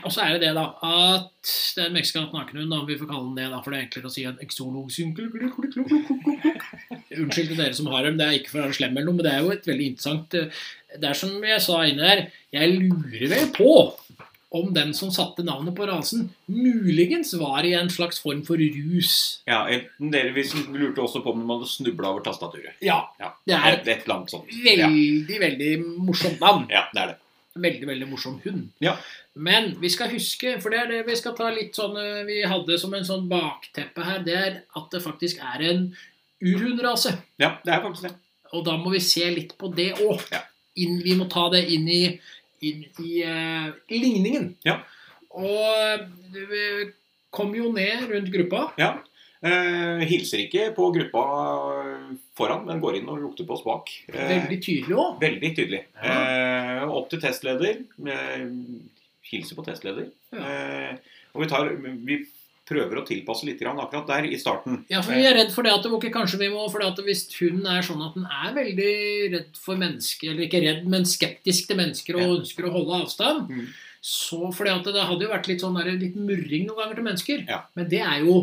B: Og så er det det, da, at det er en meksikansk nakenhund. da, Vi får kalle den det, da, for det er enklere å si en exolosynkel. Unnskyld til dere som har dem, det er ikke for å være slem eller noe, men det er jo et veldig interessant eh, Det er som jeg sa inne der, jeg lurer vel på om den som satte navnet på rasen, muligens var i en slags form for rus.
A: Ja, enten dere vi lurte også på om de hadde snubla over tastaturet.
B: Ja.
A: Ja,
B: Det er
A: Et, et eller annet sånt. Ja.
B: veldig, veldig morsomt navn.
A: ja, det er det.
B: Veldig, veldig morsom hund.
A: Ja.
B: Men vi skal huske, for det er det vi skal ta litt sånn eh, Vi hadde som en sånn bakteppe her, det er at det faktisk er en urhundrase.
A: Ja, det er faktisk det.
B: Og da må vi se litt på det òg.
A: Ja.
B: Vi må ta det inn i, inn i eh, ligningen.
A: Ja.
B: Og eh, vi kom jo ned rundt gruppa.
A: Ja. Eh, hilser ikke på gruppa foran, men går inn og lukter på oss bak. Eh,
B: Veldig tydelig òg.
A: Veldig tydelig.
B: Ja.
A: Eh, opp til testleder. Eh, hilser på testleder.
B: Ja.
A: Eh, og vi, tar, vi prøver å tilpasse litt grann akkurat der i starten.
B: Ja, for Vi er redd for det at det ok, kanskje vi må For det at hvis hunden er sånn at den er veldig redd for mennesker, eller ikke redd, men skeptisk til mennesker og
A: Ja.
B: ønsker å holde avstand
A: Mm.
B: så fordi at Det hadde jo vært litt sånn der, litt murring noen ganger til mennesker.
A: Ja.
B: Men det er jo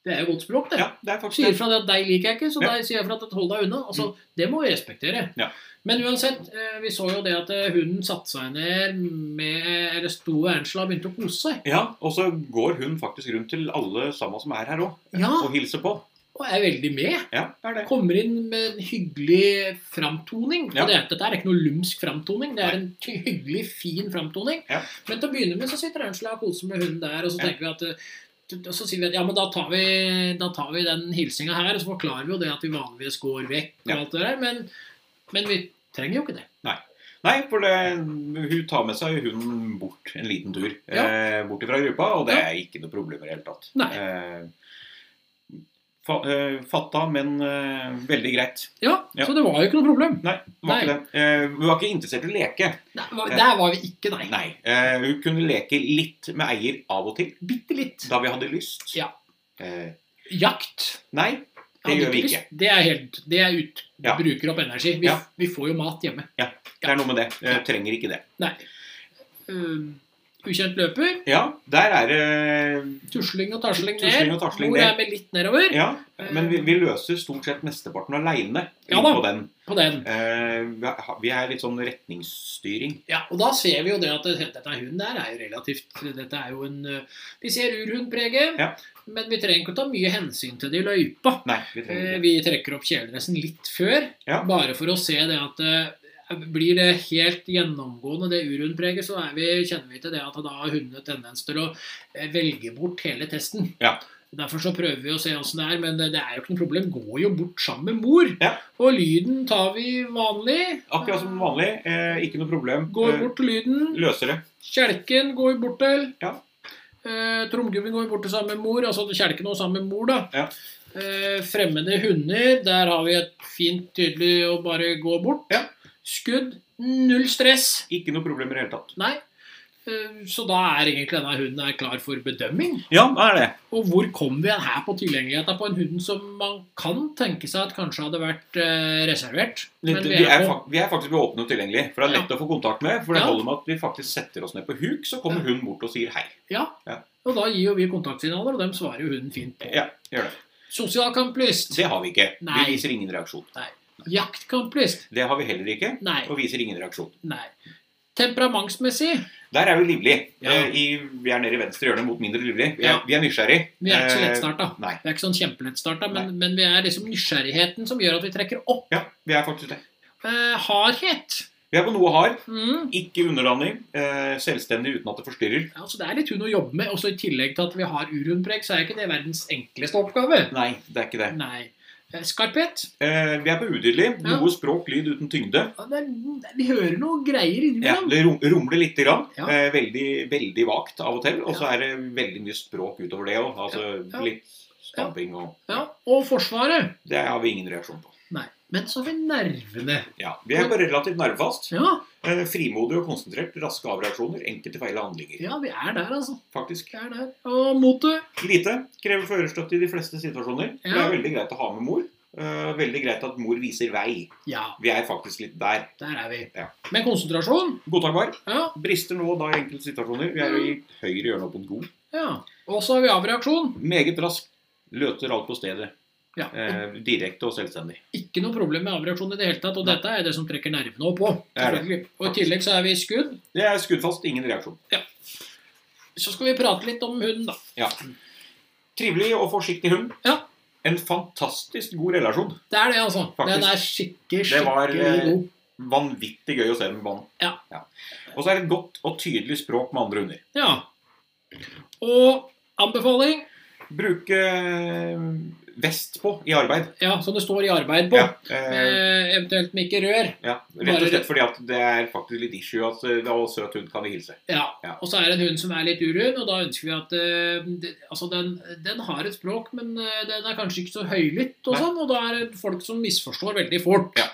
B: det er jo godt språk, det.
A: Ja, det er
B: sier
A: faktisk det.
B: fra det at deg liker jeg ikke, så
A: Ja. Mm.
B: deg sier jeg fra at hold deg unna. Altså, Det må vi respektere.
A: Ja.
B: Men uansett, eh, vi så jo det at eh, hunden satte seg ned med Eller sto ved Angela og begynte å kose seg.
A: Ja, og så går hun faktisk rundt til alle sammen som er her òg,
B: Ja,
A: og hilser på.
B: og er veldig med.
A: Ja, det er det.
B: Kommer inn med en hyggelig framtoning.
A: Ja.
B: Og det, er- dette er ikke noe lumsk framtoning, det er
A: Nei.
B: en ty- hyggelig, fin framtoning.
A: Ja.
B: Men til å begynne med så sitter Angela og koser med hunden der, og så
A: Ja.
B: tenker vi at eh, t- og så sier vi at ja, men da tar vi, da tar vi den hilsinga her, og så forklarer vi jo det at vi vanligvis går vekk og
A: Ja.
B: alt det der, men, men vi trenger jo ikke det.
A: Nei, for det, hun tar med seg hunden bort en liten tur.
B: Ja.
A: Eh, bort fra gruppa, og det er ikke noe problem i det hele tatt.
B: Nei.
A: Eh, fa, eh, fatta, men eh, veldig greit.
B: Ja,
A: Ja.
B: Så det var jo ikke noe problem.
A: Nei, det var
B: Nei.
A: ikke det. Eh, hun var ikke interessert i å leke.
B: Nei, det var-
A: Ja.
B: der var vi ikke, nei.
A: Nei. Eh, hun kunne leke litt med eier av og til,
B: Bitte litt.
A: da vi hadde lyst.
B: Ja.
A: Eh,
B: Jakt.
A: nei, det
B: hadde
A: gjør vi
B: lyst.
A: ikke.
B: Det er helt, det er ut,
A: Ja.
B: bruker opp energi. Vi,
A: Ja.
B: vi får jo mat hjemme.
A: Det er noe med det. Eh,
B: Ja.
A: trenger ikke det.
B: Nei. Uh, ukjent løper.
A: Ja, der er eh, det
B: Tusling og tasling ned.
A: Tusling og tasling
B: Hvor
A: ned.
B: er vi litt nedover
A: Ja, men vi, vi løser stort sett mesteparten aleine
B: Ja da.
A: på den.
B: på den.
A: Eh, vi er- vi er litt sånn retningsstyring.
B: Ja, og da ser vi jo det at det- dette hunden der er jo relativt Dette er jo en eh, Vi ser urhundpreget,
A: Ja.
B: men vi trenger ikke å ta mye hensyn til det i løypa.
A: Nei, vi trenger
B: Eh,
A: ikke det.
B: Vi trekker opp kjeledressen litt før,
A: Ja.
B: bare for å se det at eh, blir det helt gjennomgående det urhundpreget, så er vi, kjenner vi til det at da har hundene tendens til å eh, velge bort hele testen.
A: Ja.
B: Derfor så prøver vi å se åssen det er, men eh, det er jo ikke noe problem. Går jo bort sammen med mor.
A: Ja.
B: Og lyden tar vi vanlig.
A: Akkurat som vanlig. Eh, ikke noe problem.
B: Går
A: Eh,
B: bort til lyden.
A: Løser det.
B: Kjelken går vi bort til.
A: Ja.
B: Eh, Tromgubben går vi bort til sammen med mor. Altså kjelken og sammen med mor, da.
A: Ja.
B: Eh, fremmede hunder, der har vi et fint, tydelig å bare gå bort.
A: Ja.
B: Skudd, null stress.
A: Ikke noe problem i det hele tatt.
B: Nei. Eh, Eh, Så da er egentlig denne hunden her klar for bedømming.
A: Ja, det er det.
B: Og hvor kom vi igjen her på tilgjengeligheten på en hund som man kan tenke seg at kanskje hadde vært eh, reservert?
A: Litt, vi, er, fak- vi er faktisk åpne og tilgjengelige, for det er lett å få kontakt med. For det
B: Ja.
A: holder med at vi faktisk setter oss ned på huk, så kommer
B: Ja.
A: hun bort og sier hei.
B: ja.
A: Ja.
B: Og da gir jo vi kontaktsignaler, og dem svarer jo hunden fint på.
A: Ja, gjør det.
B: Sosialkamplyst.
A: Det har vi ikke.
B: Nei.
A: Vi viser ingen reaksjon.
B: Jaktkamplyst.
A: Det har vi heller ikke,
B: Nei.
A: og viser ingen reaksjon.
B: Nei. Temperamentsmessig.
A: Der er vi livlige.
B: Ja.
A: Eh, i, vi er nede i venstre hjørne mot mindre livlig. Vi er,
B: Ja.
A: vi er nysgjerrig.
B: Vi er ikke så
A: Eh,
B: lettstarta.
A: Nei.
B: Vi er ikke sånn kjempelettstarta, men, men vi er liksom nysgjerrigheten som gjør at vi trekker opp.
A: Ja, vi er faktisk det.
B: Eh, hardhet.
A: Vi er på noe hard.
B: Mm.
A: Ikke underlanding. Eh, selvstendig uten at det forstyrrer.
B: Ja, så Det er litt hund å jobbe med. Også I tillegg til at vi har urhundpreg, så er ikke det verdens enkleste oppgave.
A: Nei, det er ikke det.
B: Nei. Eh, Skarphet.
A: Eh, vi er på udyrlig.
B: Ja.
A: Noe språk, lyd uten tyngde.
B: Ja, det er, vi hører noe greier
A: Ja,
B: innimellom.
A: det rum- rumler litt. Grann.
B: Ja.
A: Eh, veldig, veldig vagt av og til. Og så
B: Ja.
A: er det veldig mye språk utover det òg. Altså
B: Ja.
A: litt stamping og
B: Ja. Og Forsvaret.
A: Det har vi ingen reaksjon på.
B: Nei. Men så har vi nervene.
A: Ja, Vi er bare relativt nervefast.
B: Ja,
A: Eh, frimodig og konsentrert. Raske avreaksjoner. Enkelte feil handlinger.
B: ja, vi er der, altså.
A: Faktisk.
B: Vi er der. Og motet.
A: Lite. Krever førerstøtte i de fleste situasjoner.
B: Ja.
A: Det er veldig greit å ha med mor. Eh, veldig greit at mor viser vei.
B: Ja,
A: Vi er faktisk litt der.
B: der er vi.
A: Ja.
B: Men konsentrasjon.
A: Godtakbar.
B: Ja.
A: Brister nå og da i enkelte situasjoner. Vi er jo i
B: Mm.
A: høyre hjørne opp mot god.
B: ja. Og så har vi avreaksjon.
A: Meget rask. Løter alt på stedet.
B: Ja. og
A: Eh, direkte og selvstendig.
B: Ikke noe problem med avreaksjon i det hele tatt. Og
A: Nei.
B: dette er det som trekker nervene opp òg.
A: Det er det.
B: Og i tillegg så er vi i skudd.
A: Det er skuddfast, ingen reaksjon.
B: Så skal vi prate litt om hunden, da.
A: Ja. Trivelig og forsiktig hund.
B: Ja.
A: En fantastisk god relasjon.
B: Det er det, altså.
A: Faktisk.
B: Den er skikkelig,
A: Det var,
B: skikkelig
A: eh,
B: god.
A: Vanvittig gøy å se dem i banen.
B: Ja.
A: Og så er det et godt og tydelig språk med andre hunder.
B: Ja. Og anbefaling
A: Bruke eh, vest på i arbeid.
B: Ja, som det står i arbeid på.
A: Eh,
B: Eh, eventuelt med ikke rør.
A: ja. Rett og
B: bare-
A: slett fordi at det er faktisk litt issue at eh, å, søt hund kan vi hilse.
B: Ja.
A: Ja.
B: Og så er det en hund som er litt urund, og da ønsker vi at eh, det, Altså, den, den har et språk, men eh, den er kanskje ikke så høylytt og
A: Nei.
B: sånn, og da er det folk som misforstår veldig fort.
A: Ja.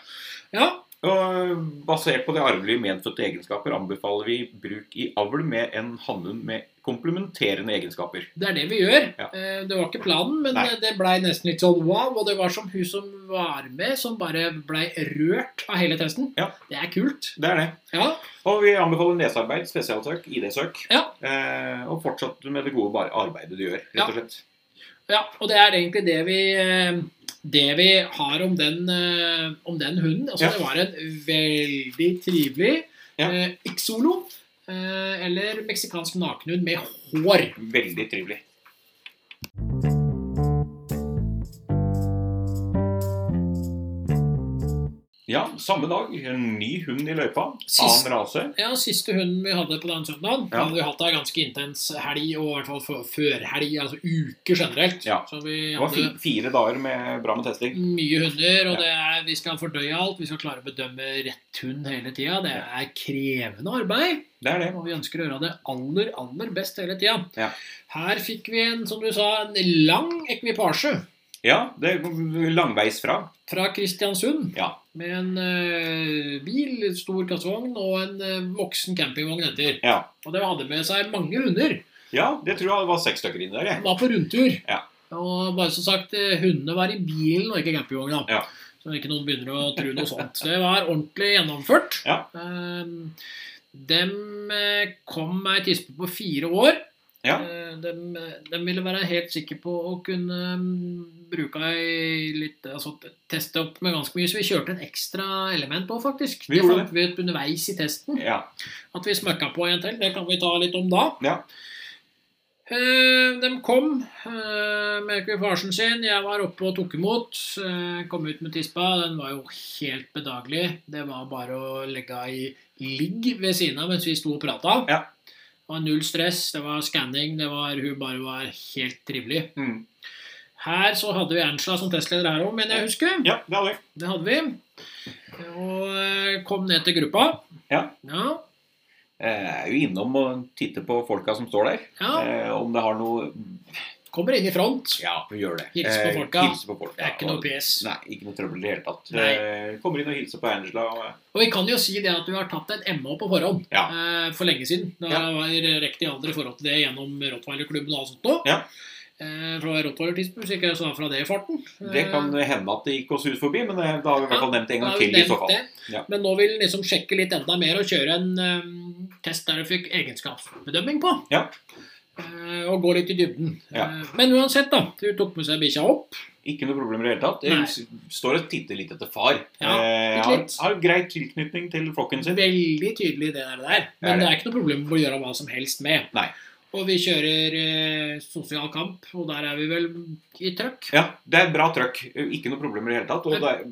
B: Ja,
A: Og eh, basert på det arvelige medfødte egenskaper anbefaler vi bruk i avl med en hannhund med komplementerende egenskaper.
B: det er det vi gjør.
A: Ja.
B: Eh, Det var ikke planen, men
A: Nei.
B: det blei nesten litt sånn wow. Og det var som hun som var med, som bare blei rørt av hele testen.
A: Ja.
B: Det er kult.
A: Det er det.
B: Ja.
A: Og vi anbefaler nesearbeid, spesialsøk, ID-søk.
B: Ja.
A: Eh, og fortsatt med det gode bar- arbeidet du gjør,
B: Ja.
A: rett og slett.
B: Ja, og det er egentlig det vi, eh, det vi har om den, eh, om den hunden. Altså,
A: Ja.
B: Det var en veldig trivelig
A: Ja.
B: eh, Ixolo, eh, eller meksikansk nakenhund med hår.
A: Veldig trivelig. Ja, samme dag. En ny hund i løypa.
B: Sist-
A: Annen rase.
B: Ja, Siste hunden vi hadde på den søndagen,
A: Ja.
B: hadde vi hatt ei ganske intens helg, og i hvert fall før- førhelg, altså uke generelt.
A: Ja.
B: Så vi
A: Det var
B: hadde
A: fi fire dager med bra med testing.
B: mye hunder, og
A: Ja.
B: det er, vi skal fordøye alt. Vi skal klare å bedømme rett hund hele tida. Det er krevende arbeid.
A: Det er det.
B: Og vi ønsker å gjøre det aller, aller best hele tida.
A: Ja.
B: Her fikk vi en, som du sa, en lang ekvipasje
A: Ja, det er langveis fra.
B: fra Kristiansund.
A: Ja.
B: Med en eh, bil, en stor kassevogn og en eh, voksen campingvogn etter.
A: Ja.
B: Og det hadde med seg mange hunder.
A: ja, det tror jeg var seks stykker inni der.
B: De
A: jeg.
B: var på rundtur.
A: Ja.
B: Og bare som sagt, eh, hundene var i bilen og ikke campingvogna.
A: Ja.
B: Så ikke noen begynner å tro noe sånt. Det var ordentlig gjennomført.
A: Ja.
B: Ehm, dem eh, kom med ei tispe på fire år.
A: Ja.
B: Eh, dem, dem ville være helt sikre på å kunne mm, bruke ei litt Altså t- teste opp med ganske mye, så vi kjørte en ekstra element på, faktisk.
A: Vi
B: det
A: gjorde
B: fant vi ut underveis i testen.
A: Ja.
B: At vi smøkka på en til, det kan vi ta litt om da.
A: Ja.
B: Eh, de kom eh, med ekvipasjen sin. Jeg var oppe og tok imot. Eh, kom ut med tispa. Den var jo helt bedagelig. Det var bare å legge ei ligg ved siden av mens vi sto og prata.
A: Ja.
B: Det var null stress, det var skanning, det var Hun bare var helt trivelig.
A: Mm.
B: Her så hadde vi Angela som testleder her òg, mener jeg husker.
A: ja, det er det.
B: Det hadde vi. Og eh, kom ned til gruppa.
A: Ja.
B: Ja.
A: Eh, Jeg er jo innom og titter på folka som står der.
B: ja.
A: Eh, om det har noe
B: Kommer inn i front.
A: Ja, vi gjør det.
B: Hils på
A: Eh,
B: folka.
A: Hilse på folka.
B: Det er ikke noe
A: Og-
B: pes.
A: Nei, ikke noe trøbbel i det hele tatt.
B: Nei.
A: Eh, Kommer inn og hilser på Angela. og- eh,
B: Og vi kan jo si det at du har tatt en MH på forhånd eh, for lenge siden. Da
A: Ja.
B: var jeg riktig alder i forhold til det gjennom Rottweiler-klubben og alt sånt nå.
A: Ja.
B: Eh, fra Rottweiler-tidspunkt, så ikke jeg sa fra det i farten. Eh,
A: Det kan hende at det gikk oss hus forbi, men eh, da har vi i hvert fall nevnt det en gang til i så fall. Ja.
B: Men nå vil den liksom sjekke litt enda mer og kjøre en eh, test der du fikk egenskapsbedømming på.
A: Ja.
B: Eh, og gå litt i dybden.
A: Ja.
B: Eh, men uansett, da. Du tok med seg bikkja opp.
A: Ikke noe problem i det hele tatt.
B: Nei.
A: Hun s- står og titter litt etter far.
B: Ja,
A: eh,
B: litt
A: har,
B: litt.
A: har grei tilknytning til flokken sin.
B: Veldig tydelig det der. der. Men
A: Er det?
B: det er ikke noe problem å gjøre hva som helst med.
A: Nei.
B: Og vi kjører eh, sosial kamp, og der er vi vel i trøkk.
A: Ja, det er bra trøkk. Ikke noe problem i det hele tatt. Og det er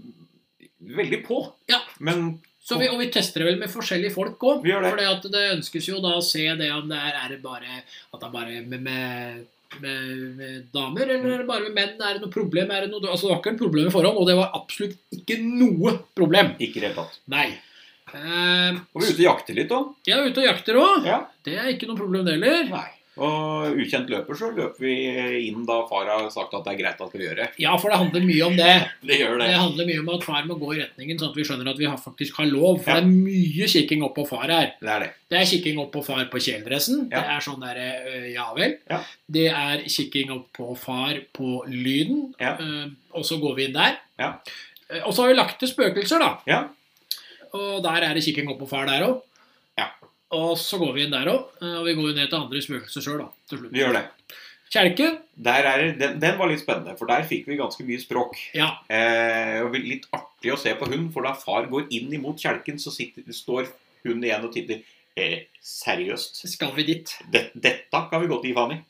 A: veldig på.
B: Ja.
A: Men
B: Så vi, og vi tester det vel med forskjellige folk òg.
A: Vi gjør det.
B: For at det ønskes jo da å se det om det er, er det bare at det er bare med, med, med, med damer, eller er det bare med menn? Er det noe problem? Er det noe, altså det var ikke noe problem i forhånd, og det var absolutt ikke noe problem.
A: ikke i det hele tatt.
B: Nei. Eh,
A: Og vi er ute og jakter litt òg.
B: jeg er ute og jakter òg.
A: Ja.
B: Det er ikke noe problem, det heller.
A: Nei. Og ukjent løper, så løper vi inn da far har sagt at det er greit at vi gjør det.
B: Ja, for det handler mye om det.
A: Det gjør
B: Det handler mye om at far må gå i retningen, sånn at vi skjønner at vi har, faktisk har lov. For det er mye kikking opp på far her.
A: Det er det.
B: Det er kikking opp på far på kjeledressen.
A: Ja.
B: Det er sånn derre øh, ja vel.
A: Ja.
B: Det er kikking opp på far på lyden.
A: Ja.
B: øh, og så går vi inn der.
A: Ja.
B: Eh, Og så har vi lagt til spøkelser, da.
A: Ja.
B: Og der er det kikking opp på far der òg.
A: Ja.
B: Og så går vi inn der òg. Og vi går jo ned til andre spøkelser sjøl, da. Til slutt.
A: Vi gjør det.
B: Kjelke.
A: Der er, det- den, den var litt spennende, for der fikk vi ganske mye språk.
B: Ja.
A: Eh, og litt artig å se på hun, for da far går inn imot kjelken, så sitter, står hun igjen og titter. Eh, seriøst?
B: Skal vi dit?
A: Det, dette kan vi godt gi faen i.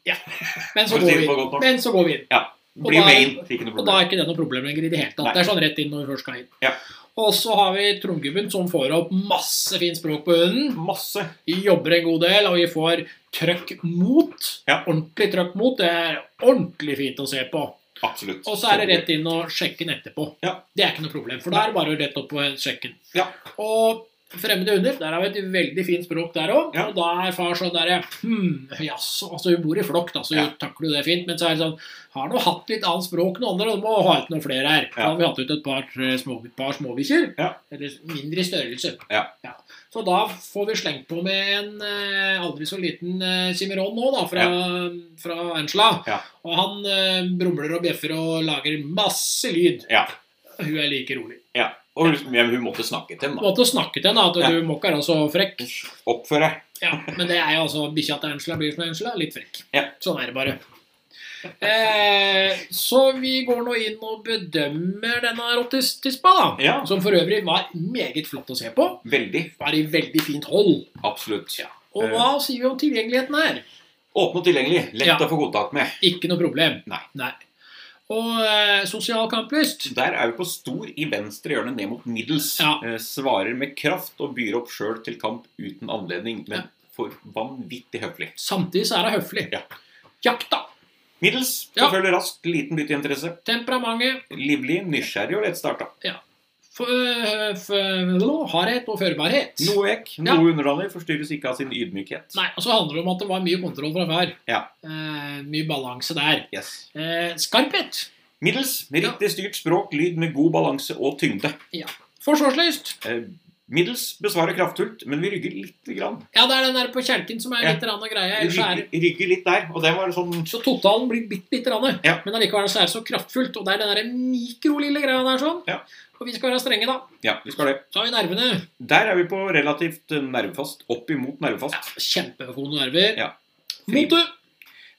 B: Men så
A: For å si
B: går
A: det
B: vi
A: på
B: inn.
A: godt norsk.
B: Men så går vi inn. Og
A: Blir
B: da-
A: med inn. Ikke noe
B: Og da
A: problem.
B: er ikke det noe problem lenger i det hele tatt.
A: Nei.
B: Det er sånn rett inn når vi først skal inn.
A: Ja.
B: Og så har vi Trondgubben som får opp masse fint språk på hunden.
A: Masse.
B: Vi jobber en god del, og vi får trøkk mot.
A: Ja.
B: Ordentlig trøkk mot. Det er ordentlig fint å se på.
A: Absolutt.
B: Og så er det rett inn og sjekke den etterpå.
A: Ja.
B: Det er ikke noe problem, for da er det bare rett opp og sjekke den.
A: Ja.
B: Og fremmede hunder, der har vi et veldig fint språk der òg.
A: Ja.
B: Og da er far sånn derre Hm, jaså. Altså, hun bor i flokk, da, så
A: Ja.
B: takler du det fint. Men så er det sånn Har nå hatt litt annet språk enn andre, og du må ha ut noen flere her. Da
A: Ja.
B: har vi hatt ut et par, tre små, et par småbikkjer.
A: Ja.
B: Eller mindre i størrelse.
A: Ja.
B: Så da får vi slengt på med en eh, aldri så liten eh, Cimarron nå, da, fra, fra Angela.
A: Ja.
B: Og han eh, brumler og bjeffer og lager masse lyd.
A: Ja.
B: Hun er like rolig.
A: Ja. Og hun, men hun måtte snakke til
B: Du
A: henne. da.
B: måtte snakke til henne, at
A: Ja.
B: du må ikke være så frekk.
A: Oppfør deg.
B: Ja, men det er jo altså bikkja til Angela blir som Angela, litt frekk.
A: Ja.
B: Sånn er det bare. Eh, så vi går nå inn og bedømmer denne rottistispa, da.
A: Ja.
B: Som for øvrig var meget flott å se på.
A: Veldig.
B: Var i veldig fint hold.
A: Absolutt.
B: Ja. Og hva sier vi om tilgjengeligheten her?
A: Åpen og tilgjengelig. Lett
B: Ja.
A: å få kontakt med.
B: Ikke noe problem.
A: Nei.
B: Og eh, sosial kamplyst?
A: Der er vi på stor i venstre hjørne ned mot middels.
B: Ja.
A: Eh, Svarer med kraft og byr opp sjøl til kamp uten anledning, men
B: Ja.
A: for vanvittig høflig.
B: Samtidig så er hun høflig.
A: Ja.
B: Jakta.
A: Middels
B: Ja.
A: forfølger raskt liten bytteinteresse.
B: Temperamentet.
A: Livlig, nysgjerrig og lettstarta.
B: For, øh, for, hardhet og førbarhet.
A: Noe vekk,
B: Ja.
A: noe underdanig, forstyrres ikke av sin ydmykhet.
B: Nei, og så handler det om at det var mye kontroll fra før.
A: Ja.
B: Eh, mye balanse der.
A: Yes.
B: Eh, skarphet.
A: Middels med riktig styrt språk, lyd med god balanse og tyngde.
B: Forsvarslyst.
A: Eh, Middels besvarer kraftfullt, men vi rygger lite grann.
B: Ja, det er den der på kjelken som er
A: Ja.
B: litt rann og greia.
A: Vi
B: Ellers så er
A: rygger, rygger litt der, og det var sånn
B: det- så totalen blir bitte lite rann.
A: Ja.
B: Men allikevel så er det så kraftfullt. Og det er den der mikrolille greia der sånn.
A: Ja.
B: Og vi skal være strenge, da.
A: Ja, vi skal det.
B: Så har vi nervene.
A: Der er vi på relativt eh, nervefast. Opp imot nervefast.
B: Ja, Kjempegode nerver.
A: Ja.
B: Motet.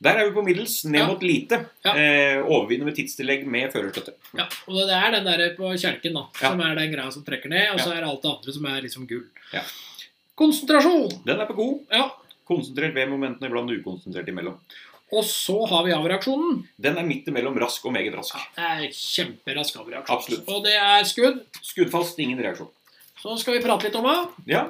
A: Der er vi på middels, ned
B: Ja.
A: mot lite.
B: Ja.
A: Eh, overvinner med tidstillegg med førerstøtte.
B: Ja, og det er den der på kjelken da,
A: Ja.
B: som er den greia som trekker ned, og så er det alt det andre som er liksom gull.
A: Ja.
B: Konsentrasjon!
A: Den er på god.
B: Ja,
A: Konsentrert ved momentene, iblant ukonsentrert imellom.
B: og så har vi avreaksjonen.
A: Den er midt imellom rask og meget rask.
B: Ja, det er kjemperask avreaksjon.
A: Absolutt.
B: Og det er skudd.
A: Skuddfast, ingen reaksjon.
B: Så skal vi prate litt om henne.
A: Ja.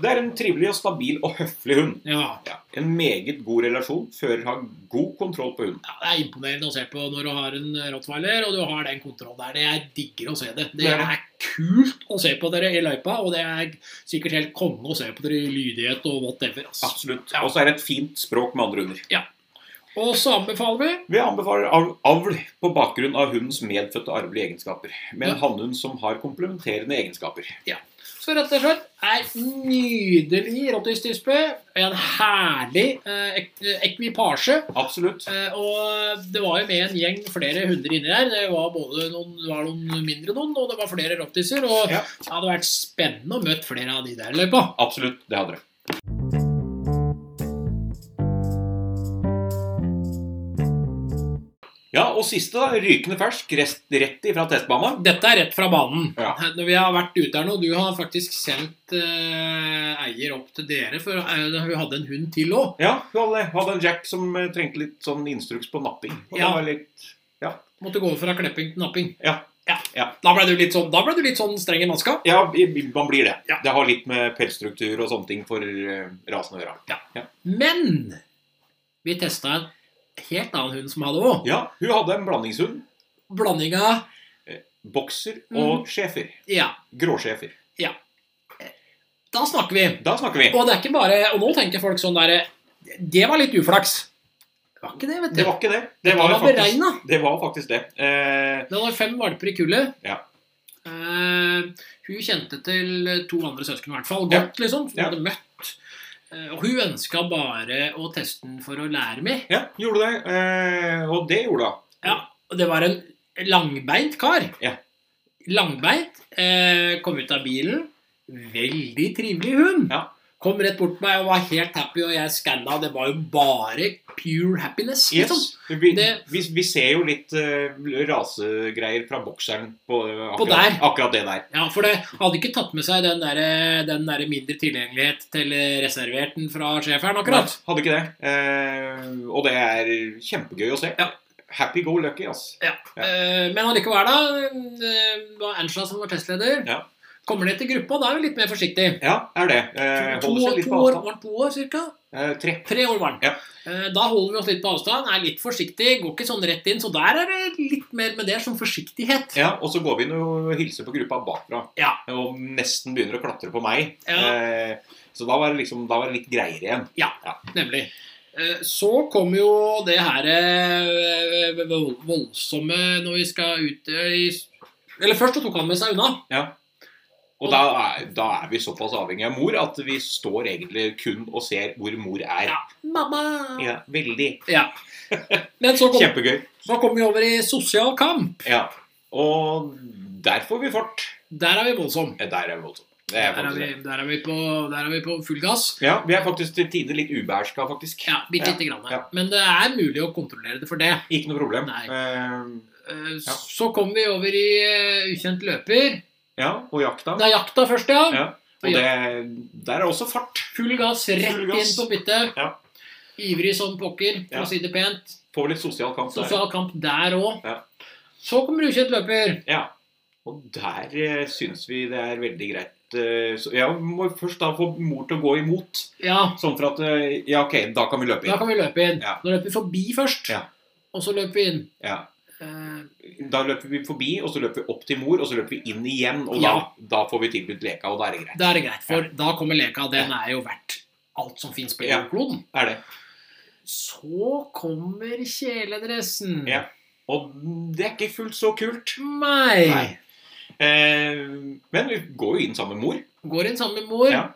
A: Det er en trivelig og stabil og høflig hund.
B: Ja.
A: Ja. En meget god relasjon. Fører har god kontroll på hunden.
B: ja, det er imponerende å se på når du har en rottweiler, og du har den kontrollen der. Det er digger å se det.
A: Det
B: Det
A: er det.
B: er kult å se på dere i løypa, og det er sikkert helt konge å se på dere i lydighet og whatever. Altså.
A: Absolutt. Og så er det et fint språk med andre hunder.
B: Og så anbefaler vi
A: Vi anbefaler av- avl på bakgrunn av hundens medfødte arvelige egenskaper, med en
B: Ja.
A: hannhund som har komplementerende egenskaper.
B: Så rett og slett er nydelig rottweiler-tispe. En herlig eh, ek- ekvipasje.
A: Absolutt.
B: Eh, og det var jo med en gjeng flere hundre inni der. Det var både noen, det var noen mindre noen, og det var flere rottiser. Og
A: Ja.
B: det hadde vært spennende å møte flere av de der i løypa.
A: Absolutt, det hadde det. Ja, og siste, da. Rykende fersk, rest, rett ifra testbanen.
B: Dette er rett fra banen. Eh,
A: Ja.
B: Når vi har vært ute her nå, Du har faktisk sendt eh, eier opp til dere, for eh, hun hadde en hund til òg.
A: Ja, hun hadde, hadde en Jack som eh, trengte litt sånn instruks på napping. Og
B: Ja.
A: det var litt
B: Måtte gå fra klepping til napping.
A: Ja.
B: Da ble du litt sånn, da ble du litt sånn streng i maska.
A: Ja, i- i- man blir det.
B: Ja.
A: Det har litt med pelsstruktur og sånne ting for eh, rasen å gjøre.
B: Men vi testa en helt annen hund som hadde òg.
A: Ja, hun hadde en blandingshund.
B: Blandinga
A: Bokser
B: Mm.
A: og schæfer.
B: Ja,
A: Gråschæfer.
B: da snakker vi.
A: Da snakker vi.
B: Og det er ikke bare Og nå tenker folk sånn der Det var litt uflaks. Det var ikke det, vet du.
A: Det var ikke det.
B: Det
A: Det var,
B: var
A: faktisk,
B: beregna.
A: det var faktisk det. Eh,
B: Det var fem valper i kullet.
A: Ja.
B: Eh, hun kjente til to andre søsken i hvert fall.
A: Ja.
B: Godt, liksom. Som hun
A: Ja.
B: hadde møtt. Eh, og hun ønska bare å teste den for å lære mer.
A: ja, gjorde det. Eh, og det gjorde hun.
B: Og det var en langbeint kar.
A: Ja.
B: Langbeint. Eh, kom ut av bilen. Veldig trivelig hund.
A: Ja.
B: Kom rett bort til meg og var helt happy, og jeg skanna. Det var jo bare pure happiness. liksom.
A: Yes. Vi,
B: Det-
A: vi, vi ser jo litt eh, rasegreier fra bokseren på, eh, akkurat,
B: På der.
A: akkurat det der.
B: Ja, for det hadde ikke tatt med seg den der, den der mindre tilgjengelighet til reserverten fra sjeferen, akkurat.
A: Hadde ikke det. Eh, og det er kjempegøy å se.
B: Ja.
A: Happy go lucky, ass. Ja.
B: Eh, Men allikevel, da. eh, var Angela som var testleder.
A: Ja.
B: Kommer ned til gruppa, da er vi litt mer forsiktig.
A: Ja, er det. Eh,
B: To,
A: holder seg litt
B: to
A: på
B: år,
A: avstand.
B: var han to år cirka?
A: Eh, tre.
B: Tre år var han.
A: Ja.
B: Eh, Da holder vi oss litt på avstand, er litt forsiktig, går ikke sånn rett inn. Så der er det litt mer med det som forsiktighet.
A: Ja, og så går vi inn og hilser på gruppa bakfra.
B: Ja.
A: Og nesten begynner å klatre på meg.
B: Ja.
A: Eh, så da var det liksom, da var det litt greiere igjen.
B: Nemlig. Eh, Så kommer jo det her eh, vold- voldsomme når vi skal ut eh, i Eller først så tok han med seg unna.
A: Og da
B: Mm.
A: er, da er vi såpass avhengig av mor at vi står egentlig kun og ser hvor mor er.
B: Ja. Mamma!
A: Ja, veldig.
B: Men så kom,
A: Kjempegøy.
B: så kom vi over i sosial kamp.
A: Ja. Og der får vi fart.
B: Der er vi voldsomme.
A: Eh, Der er vi voldsomt. Det er
B: Der er
A: faktisk
B: vi,
A: det.
B: der er vi, på, der er vi på full gass.
A: Ja, vi er faktisk til tider litt ubeherska, faktisk.
B: Ja, bitte lite grann.
A: ja.
B: Men det er mulig å kontrollere det for det.
A: Ikke noe problem.
B: Nei.
A: Eh,
B: Eh, Så kom vi over i eh, ukjent løper.
A: ja, og jakta.
B: Det er jakta først, ja.
A: Ja. Og det, der er også fart.
B: Full gass rett
A: Full gass.
B: inn på byttet.
A: Ja.
B: Ivrig som pokker, for
A: Ja.
B: å si det pent.
A: Får litt sosial kamp der.
B: Sosial kamp der òg.
A: Ja.
B: Så kommer ukjent løper.
A: Ja, og der eh, syns vi det er veldig greit eh, så Jeg må først da få mor til å gå imot,
B: Ja,
A: sånn for at eh, Ja, ok, da kan vi løpe
B: da
A: inn.
B: kan vi løpe inn.
A: Ja.
B: Da løper vi forbi først,
A: Ja.
B: og så løper vi inn.
A: Ja.
B: Eh,
A: Da løper vi forbi, og så løper vi opp til mor, og så løper vi inn igjen. Og
B: Ja.
A: da, da får vi tilbudt leka, og da er det greit.
B: Da er det greit, for da kommer leka. Den er jo verdt alt som fins på
A: Ja.
B: jordkloden.
A: Er det.
B: Så kommer kjeledressen.
A: Ja. Og det er ikke fullt så kult.
B: Nei.
A: Nei. Eh, men vi går jo inn sammen med mor.
B: Går inn sammen med mor.
A: Ja.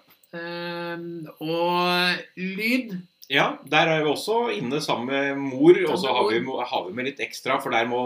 B: Ehm, og lyd
A: Ja, der er vi også inne sammen med mor, og så
B: med
A: har vi, har vi med litt ekstra, for der må,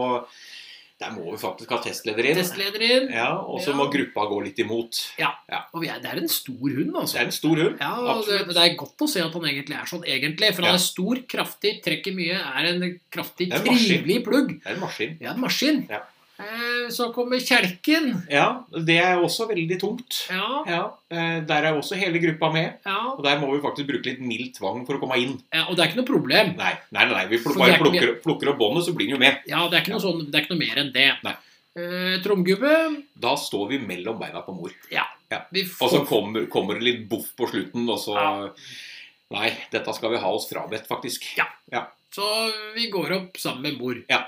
A: der må vi faktisk ha testleder inn.
B: Testleder inn.
A: Ja, og så
B: Ja.
A: må gruppa gå litt imot.
B: Og vi er, det er en stor hund,
A: Det
B: altså.
A: er en stor hund.
B: Ja, og det,
A: absolutt.
B: det er godt å se at han egentlig er sånn, egentlig. For han
A: Ja.
B: er stor, kraftig, trekker mye, er en kraftig,
A: Det er en maskin.
B: trivelig plugg.
A: Det er en maskin.
B: Ja, en maskin.
A: Ja.
B: Eh, så kommer kjelken.
A: Ja, det er også veldig tungt.
B: Ja,
A: Ja, eh, Der er også hele gruppa med,
B: ja.
A: og der må vi faktisk bruke litt mild tvang for å komme inn.
B: ja. Og det er ikke noe problem.
A: Nei, nei, nei, nei vi pl
B: For det
A: bare
B: er
A: plukker,
B: ikke-
A: plukker opp båndet, så blir den jo med.
B: Ja, det er ikke noe, sånn, det er ikke noe mer enn det.
A: Nei.
B: Eh, Tromgubbe
A: Da står vi mellom beina på mor.
B: vi
A: Og så
B: får,
A: kommer, kommer det litt boff på slutten, og så
B: Ja.
A: Nei, dette skal vi ha oss frabedt, faktisk.
B: Ja. så vi går opp sammen med mor.
A: Ja,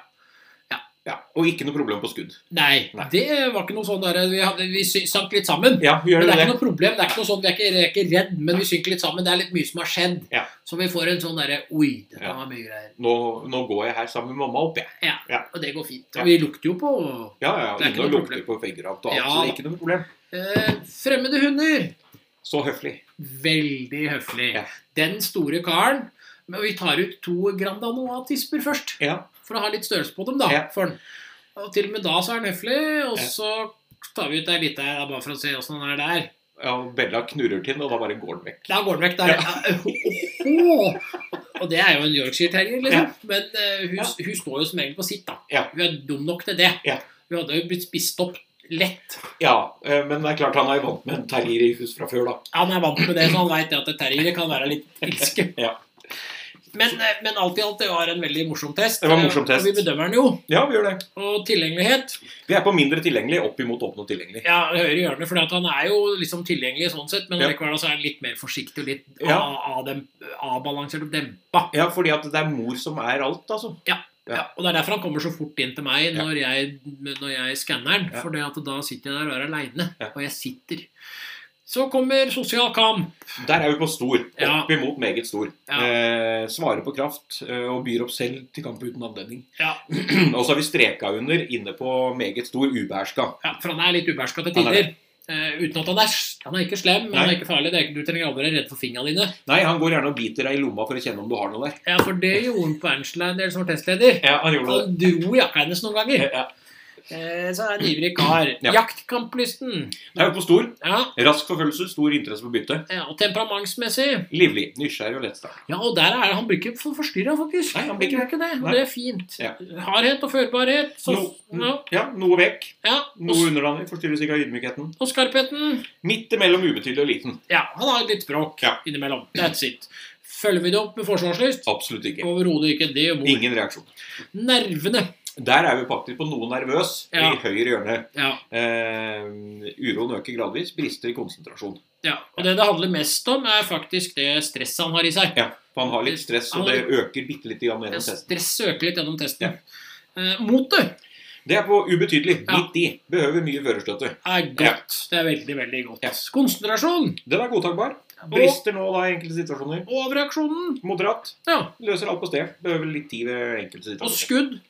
A: Og ikke noe problem på skudd.
B: Nei,
A: Nei.
B: det var ikke noe sånn der, vi, hadde, vi sy- sank litt sammen.
A: Ja, gjør
B: Men det
A: det
B: er ikke
A: det?
B: noe problem. det er ikke noe sånn, Vi er ikke, vi er ikke redd, men vi synker litt sammen. Det er litt mye som har skjedd.
A: Ja.
B: Så vi får en sånn derre Oi, dette
A: Ja.
B: var mye greier.
A: Nå, nå går jeg her sammen med mamma opp, jeg.
B: Og det går fint.
A: Ja.
B: Og vi lukter jo på
A: Ja, ja,
B: Det er ikke
A: inne og
B: noe
A: lukter på vegger og alt annet,
B: Ja.
A: så det er ikke noe problem.
B: eh, fremmede hunder.
A: Så høflig.
B: Veldig høflig.
A: Ja.
B: Den store karen. Men vi tar ut to Grand Anoa-tisper først,
A: Ja.
B: for å ha litt størrelse på dem. da,
A: Ja.
B: for den. Og til og med da så er den høflig, og
A: Ja.
B: så tar vi ut ei lita ja, bare for å se åssen den er der.
A: ja og Bella knurrer til den, og da bare går den vekk.
B: Da går den vekk der. Åh! Og det er jo en Yorkshire-terrier, liksom. Men eh, hun, hun står jo som regel på sitt, da.
A: Ja.
B: Hun er dum nok til det.
A: Ja.
B: Hun hadde jo blitt spist opp lett.
A: Ja, eh, men det er klart han er jo vant med en terrier i hus fra før, da.
B: Han er vant med det, så han veit at terriere kan være litt ilske.
A: Ja.
B: Men, eh, men alt i alt, det var en veldig morsom test.
A: Det var en morsom
B: Eh,
A: test.
B: Og vi bedømmer den jo.
A: Ja, vi gjør det.
B: Og tilgjengelighet
A: Vi er på mindre tilgjengelig opp imot åpne og tilgjengelig.
B: Ja, høyre hjørne, for han er jo liksom tilgjengelig sånn sett, men
A: Ja.
B: likevel så er han litt mer forsiktig og litt
A: Ja.
B: a- a- dem- avbalansert og dempa.
A: Ja, fordi at det er mor som er alt, altså. Ja.
B: Ja, og Det er derfor han kommer så fort inn til meg
A: Ja.
B: når jeg, når jeg skanner den.
A: Ja.
B: For det at da sitter jeg der og er aleine,
A: Ja.
B: og jeg sitter. Så kommer sosial kamp.
A: Der er vi på stor.
B: Ja.
A: Opp imot meget stor.
B: Ja.
A: Eh, svarer på kraft eh, og byr opp selv til kamp uten anledning.
B: Ja.
A: og så har vi streka under inne på meget stor ubeherska.
B: Ja, for han er litt ubeherska til
A: Han er
B: tider. Eh, uten at han er s- Han er ikke slem, men
A: Nei.
B: han er ikke farlig. Det er ikke, du trenger aldri å være redd for fingra dine.
A: Nei, han går gjerne og biter deg i lomma for å kjenne om du har noe der.
B: Ja, For det gjorde han på Ernstline, del som var testleder.
A: Ja, han gjorde det.
B: Han dro jakka hennes noen ganger.
A: Ja.
B: Eh, så er han en ivrig kar.
A: Ja.
B: Jaktkamplysten.
A: Da er vi på stor.
B: Ja,
A: Rask forfølgelse, stor interesse for bytte.
B: ja, og temperamentsmessig.
A: Livlig, nysgjerrig og lettstart.
B: Ja, og der er han blir ikke for forstyrra, faktisk.
A: Nei, han blir ikke-
B: gjør det. og
A: Nei.
B: Det er fint.
A: Ja.
B: Hardhet og førbarhet. Så,
A: No,
B: ja,
A: ja, noe vekk.
B: ja.
A: Noe
B: Og,
A: underlandig. Forstyrres ikke av ydmykheten.
B: og skarpheten.
A: Midt imellom ubetydelig og liten.
B: Ja, han har litt bråk
A: Ja.
B: innimellom. That's it. Følger vi det opp med forsvarslyst?
A: Absolutt ikke.
B: Overhodet ikke. Det gjør mor.
A: Ingen reaksjon.
B: Nervene.
A: Der er vi faktisk på noe nervøs
B: Ja.
A: i høyre hjørne.
B: Ja.
A: Eh, uroen øker gradvis, brister i konsentrasjon.
B: ja. Og det det handler mest om, er faktisk det stresset han har i seg.
A: Ja, for han har litt stress, og det øker bitte litt gjennom testen.
B: Stress øker litt gjennom testen. Eh, motet
A: Det er på ubetydelig.
B: Ja.
A: Midt i. Behøver mye førerstøtte.
B: er godt. Det er veldig, veldig godt.
A: Ja.
B: Konsentrasjon.
A: Den er godtakbar.
B: Og
A: Brister nå da i enkelte situasjoner.
B: overreaksjonen.
A: Moderat.
B: Ja.
A: Løser alt på sted. Behøver litt tid ved enkelte
B: Og
A: situasjoner.
B: skudd.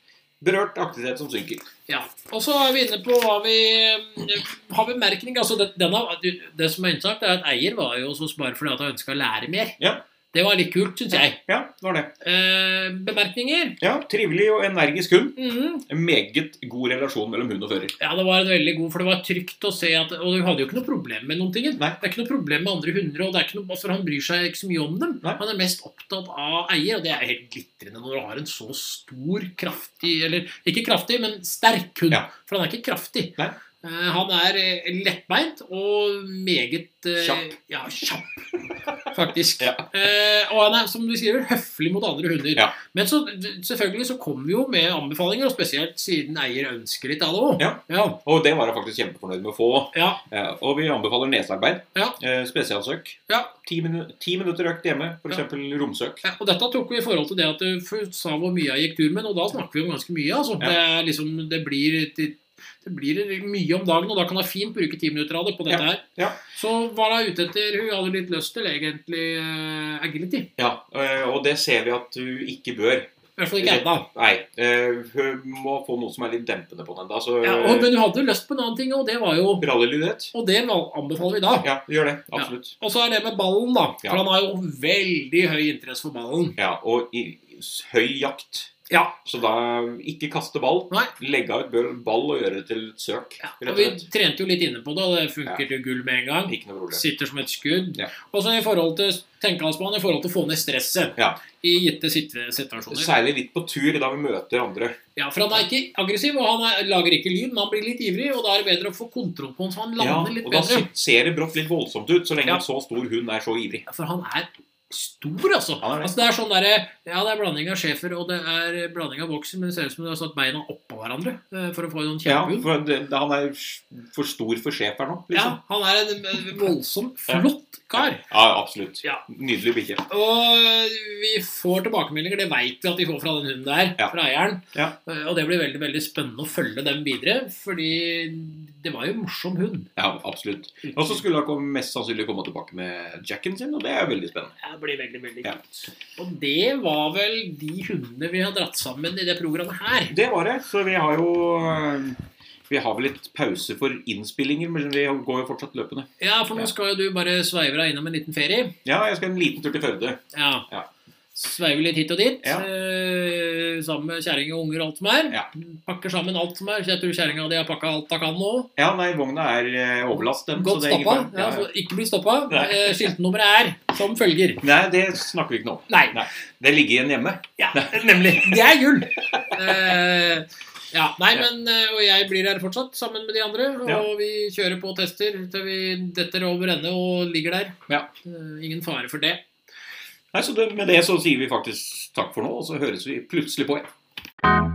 A: Berørt aktivitet som synker.
B: Ja, og så er vi inne på hva vi eh, har bemerkning. Altså, det, denne, det som er innsagt, er at eier var jo hos oss bare fordi at han ønska å lære mer.
A: Ja.
B: Det var litt kult, syns jeg.
A: Ja, det var det.
B: Eh, bemerkninger?
A: Ja, Trivelig og energisk hund.
B: Mhm.
A: En meget god relasjon mellom hund og fører.
B: Ja, det var en veldig god, for det var trygt å se at Og du hadde jo ikke noe problem med noen ting.
A: Nei.
B: Det er ikke noe problem med andre hunder, og det er ikke noe, for han bryr seg ikke så mye om dem.
A: Nei.
B: Han er mest opptatt av eier, og det er helt glitrende når du har en så stor, kraftig Eller ikke kraftig, men sterk hund.
A: Ja.
B: For han er ikke kraftig.
A: Nei.
B: Eh, Han er eh, lettbeint og meget eh,
A: Kjapp.
B: Ja, kjapp, faktisk.
A: Ja.
B: Eh, og han er, som du skriver, høflig mot andre hunder.
A: Ja.
B: Men så, selvfølgelig så kommer vi jo med anbefalinger, og spesielt siden eier ønsker litt av det òg.
A: Ja.
B: Ja.
A: Og det var jeg faktisk kjempefornøyd med å få.
B: Ja,
A: Eh, Og vi anbefaler nesarbeid.
B: Ja.
A: Eh, Spesialsøk.
B: ja.
A: Ti, minu ti minutter økt hjemme,
B: Ja.
A: f.eks. eksempel romsøk.
B: Ja, Og dette tok vi i forhold til det at eh, du f- sa hvor mye jeg gikk tur med, og da snakker vi om ganske mye. altså.
A: Ja.
B: Det, er liksom, det, blir, det, det blir mye om dagen, og da kan jeg fint bruke ti minutter av det på dette her.
A: ja.
B: Så hva er hun ute etter? Hun hadde litt lyst til egentlig eh, agility.
A: Ja, eh, og det ser vi at du ikke bør.
B: I hvert fall ikke ennå.
A: Nei, eh, hun må få noe som er litt dempende på den. Altså, da, så
B: Ja, og- men hun hadde lyst på en annen ting, og det var jo
A: Rallylydhet?
B: Og det val- anbefaler vi da.
A: Ja, gjør det. Absolutt.
B: Og så er det med ballen, da. For
A: Ja.
B: han har jo veldig høy interesse for ballen.
A: Ja, Og i, høy jakt.
B: Ja.
A: Så da ikke kaste ball.
B: Nei.
A: Legge av et bøl- ball og gjøre det til et søk.
B: Ja,
A: Rett
B: og
A: og
B: vi
A: slett.
B: trente jo litt inne på det, og det funker
A: Ja.
B: til gull med en gang.
A: Ikke noe problem.
B: Sitter som et skudd.
A: Ja.
B: Og så i forhold til tenkehalsbanen, i forhold til å få ned stresset
A: Ja.
B: i gitte sitte- situasjoner.
A: Særlig litt på tur, da vi møter andre.
B: Ja, For han er ikke aggressiv, og han er, lager ikke lyd, men han blir litt ivrig, og da er det bedre å få kontroll på han, så han
A: Ja,
B: lander litt
A: og da
B: bedre.
A: ser det brått litt voldsomt ut, så lenge en
B: Ja.
A: så stor hund er så ivrig.
B: Ja, For han er stor, altså.
A: Han er det.
B: altså det er sånn derre Ja, det er blanding av schæfer, og det er blanding av bokser, men det ser ut som du har satt beina oppå hverandre eh, for å få en
A: Ja,
B: kjempehund.
A: for det, han er for stor for sjef her nå,
B: Ja,
A: liksom.
B: han er en eh, voldsom, flott kar.
A: Ja, absolutt.
B: Ja.
A: Nydelig bikkje.
B: Og eh, vi får tilbakemeldinger, det veit vi at vi får fra den hunden der,
A: Ja.
B: fra eieren. Eh,
A: Ja.
B: Og det blir veldig veldig spennende å følge dem videre, fordi det var jo en morsom hund.
A: Ja, absolutt. Og så skulle han komme- mest sannsynlig komme tilbake med jacken sin, og det er veldig spennende.
B: Jeg blir veldig, veldig
A: Ja.
B: kult. Og det var vel de hundene vi har dratt sammen i det programmet her.
A: Det var det. Så vi har jo eh, Vi har vel litt pause for innspillinger, men vi går jo fortsatt løpende.
B: Ja, for nå
A: Ja.
B: skal jo du bare sveive deg innom en liten ferie.
A: Ja, jeg skal en liten tur til Førde.
B: Ja.
A: Ja.
B: Sveive litt hit og dit.
A: Ja.
B: Eh, sammen med kjerring og unger og alt som er.
A: Ja.
B: Pakker sammen alt som er. Så jeg tror kjerringa di har pakka alt hun kan nå.
A: Ja, nei, vogna er eh, overlast, den. så
B: Godt
A: det er ingen
B: stoppa.
A: fare.
B: Ja,
A: Ja,
B: så ikke bli stoppa.
A: Nei.
B: Eh, Skiltnummeret er som følger.
A: Nei, det snakker vi ikke nå.
B: Nei.
A: Det ligger igjen hjemme.
B: Ja, nemlig. Det er gull! Eh, ja, nei, men eh, Og jeg blir her fortsatt sammen med de andre. Og
A: Ja.
B: vi kjører på og tester til vi detter over ende og ligger der.
A: Ja.
B: Eh, ingen fare for det.
A: Nei, så det, Med det så sier vi faktisk takk for nå, og så høres vi plutselig på igjen.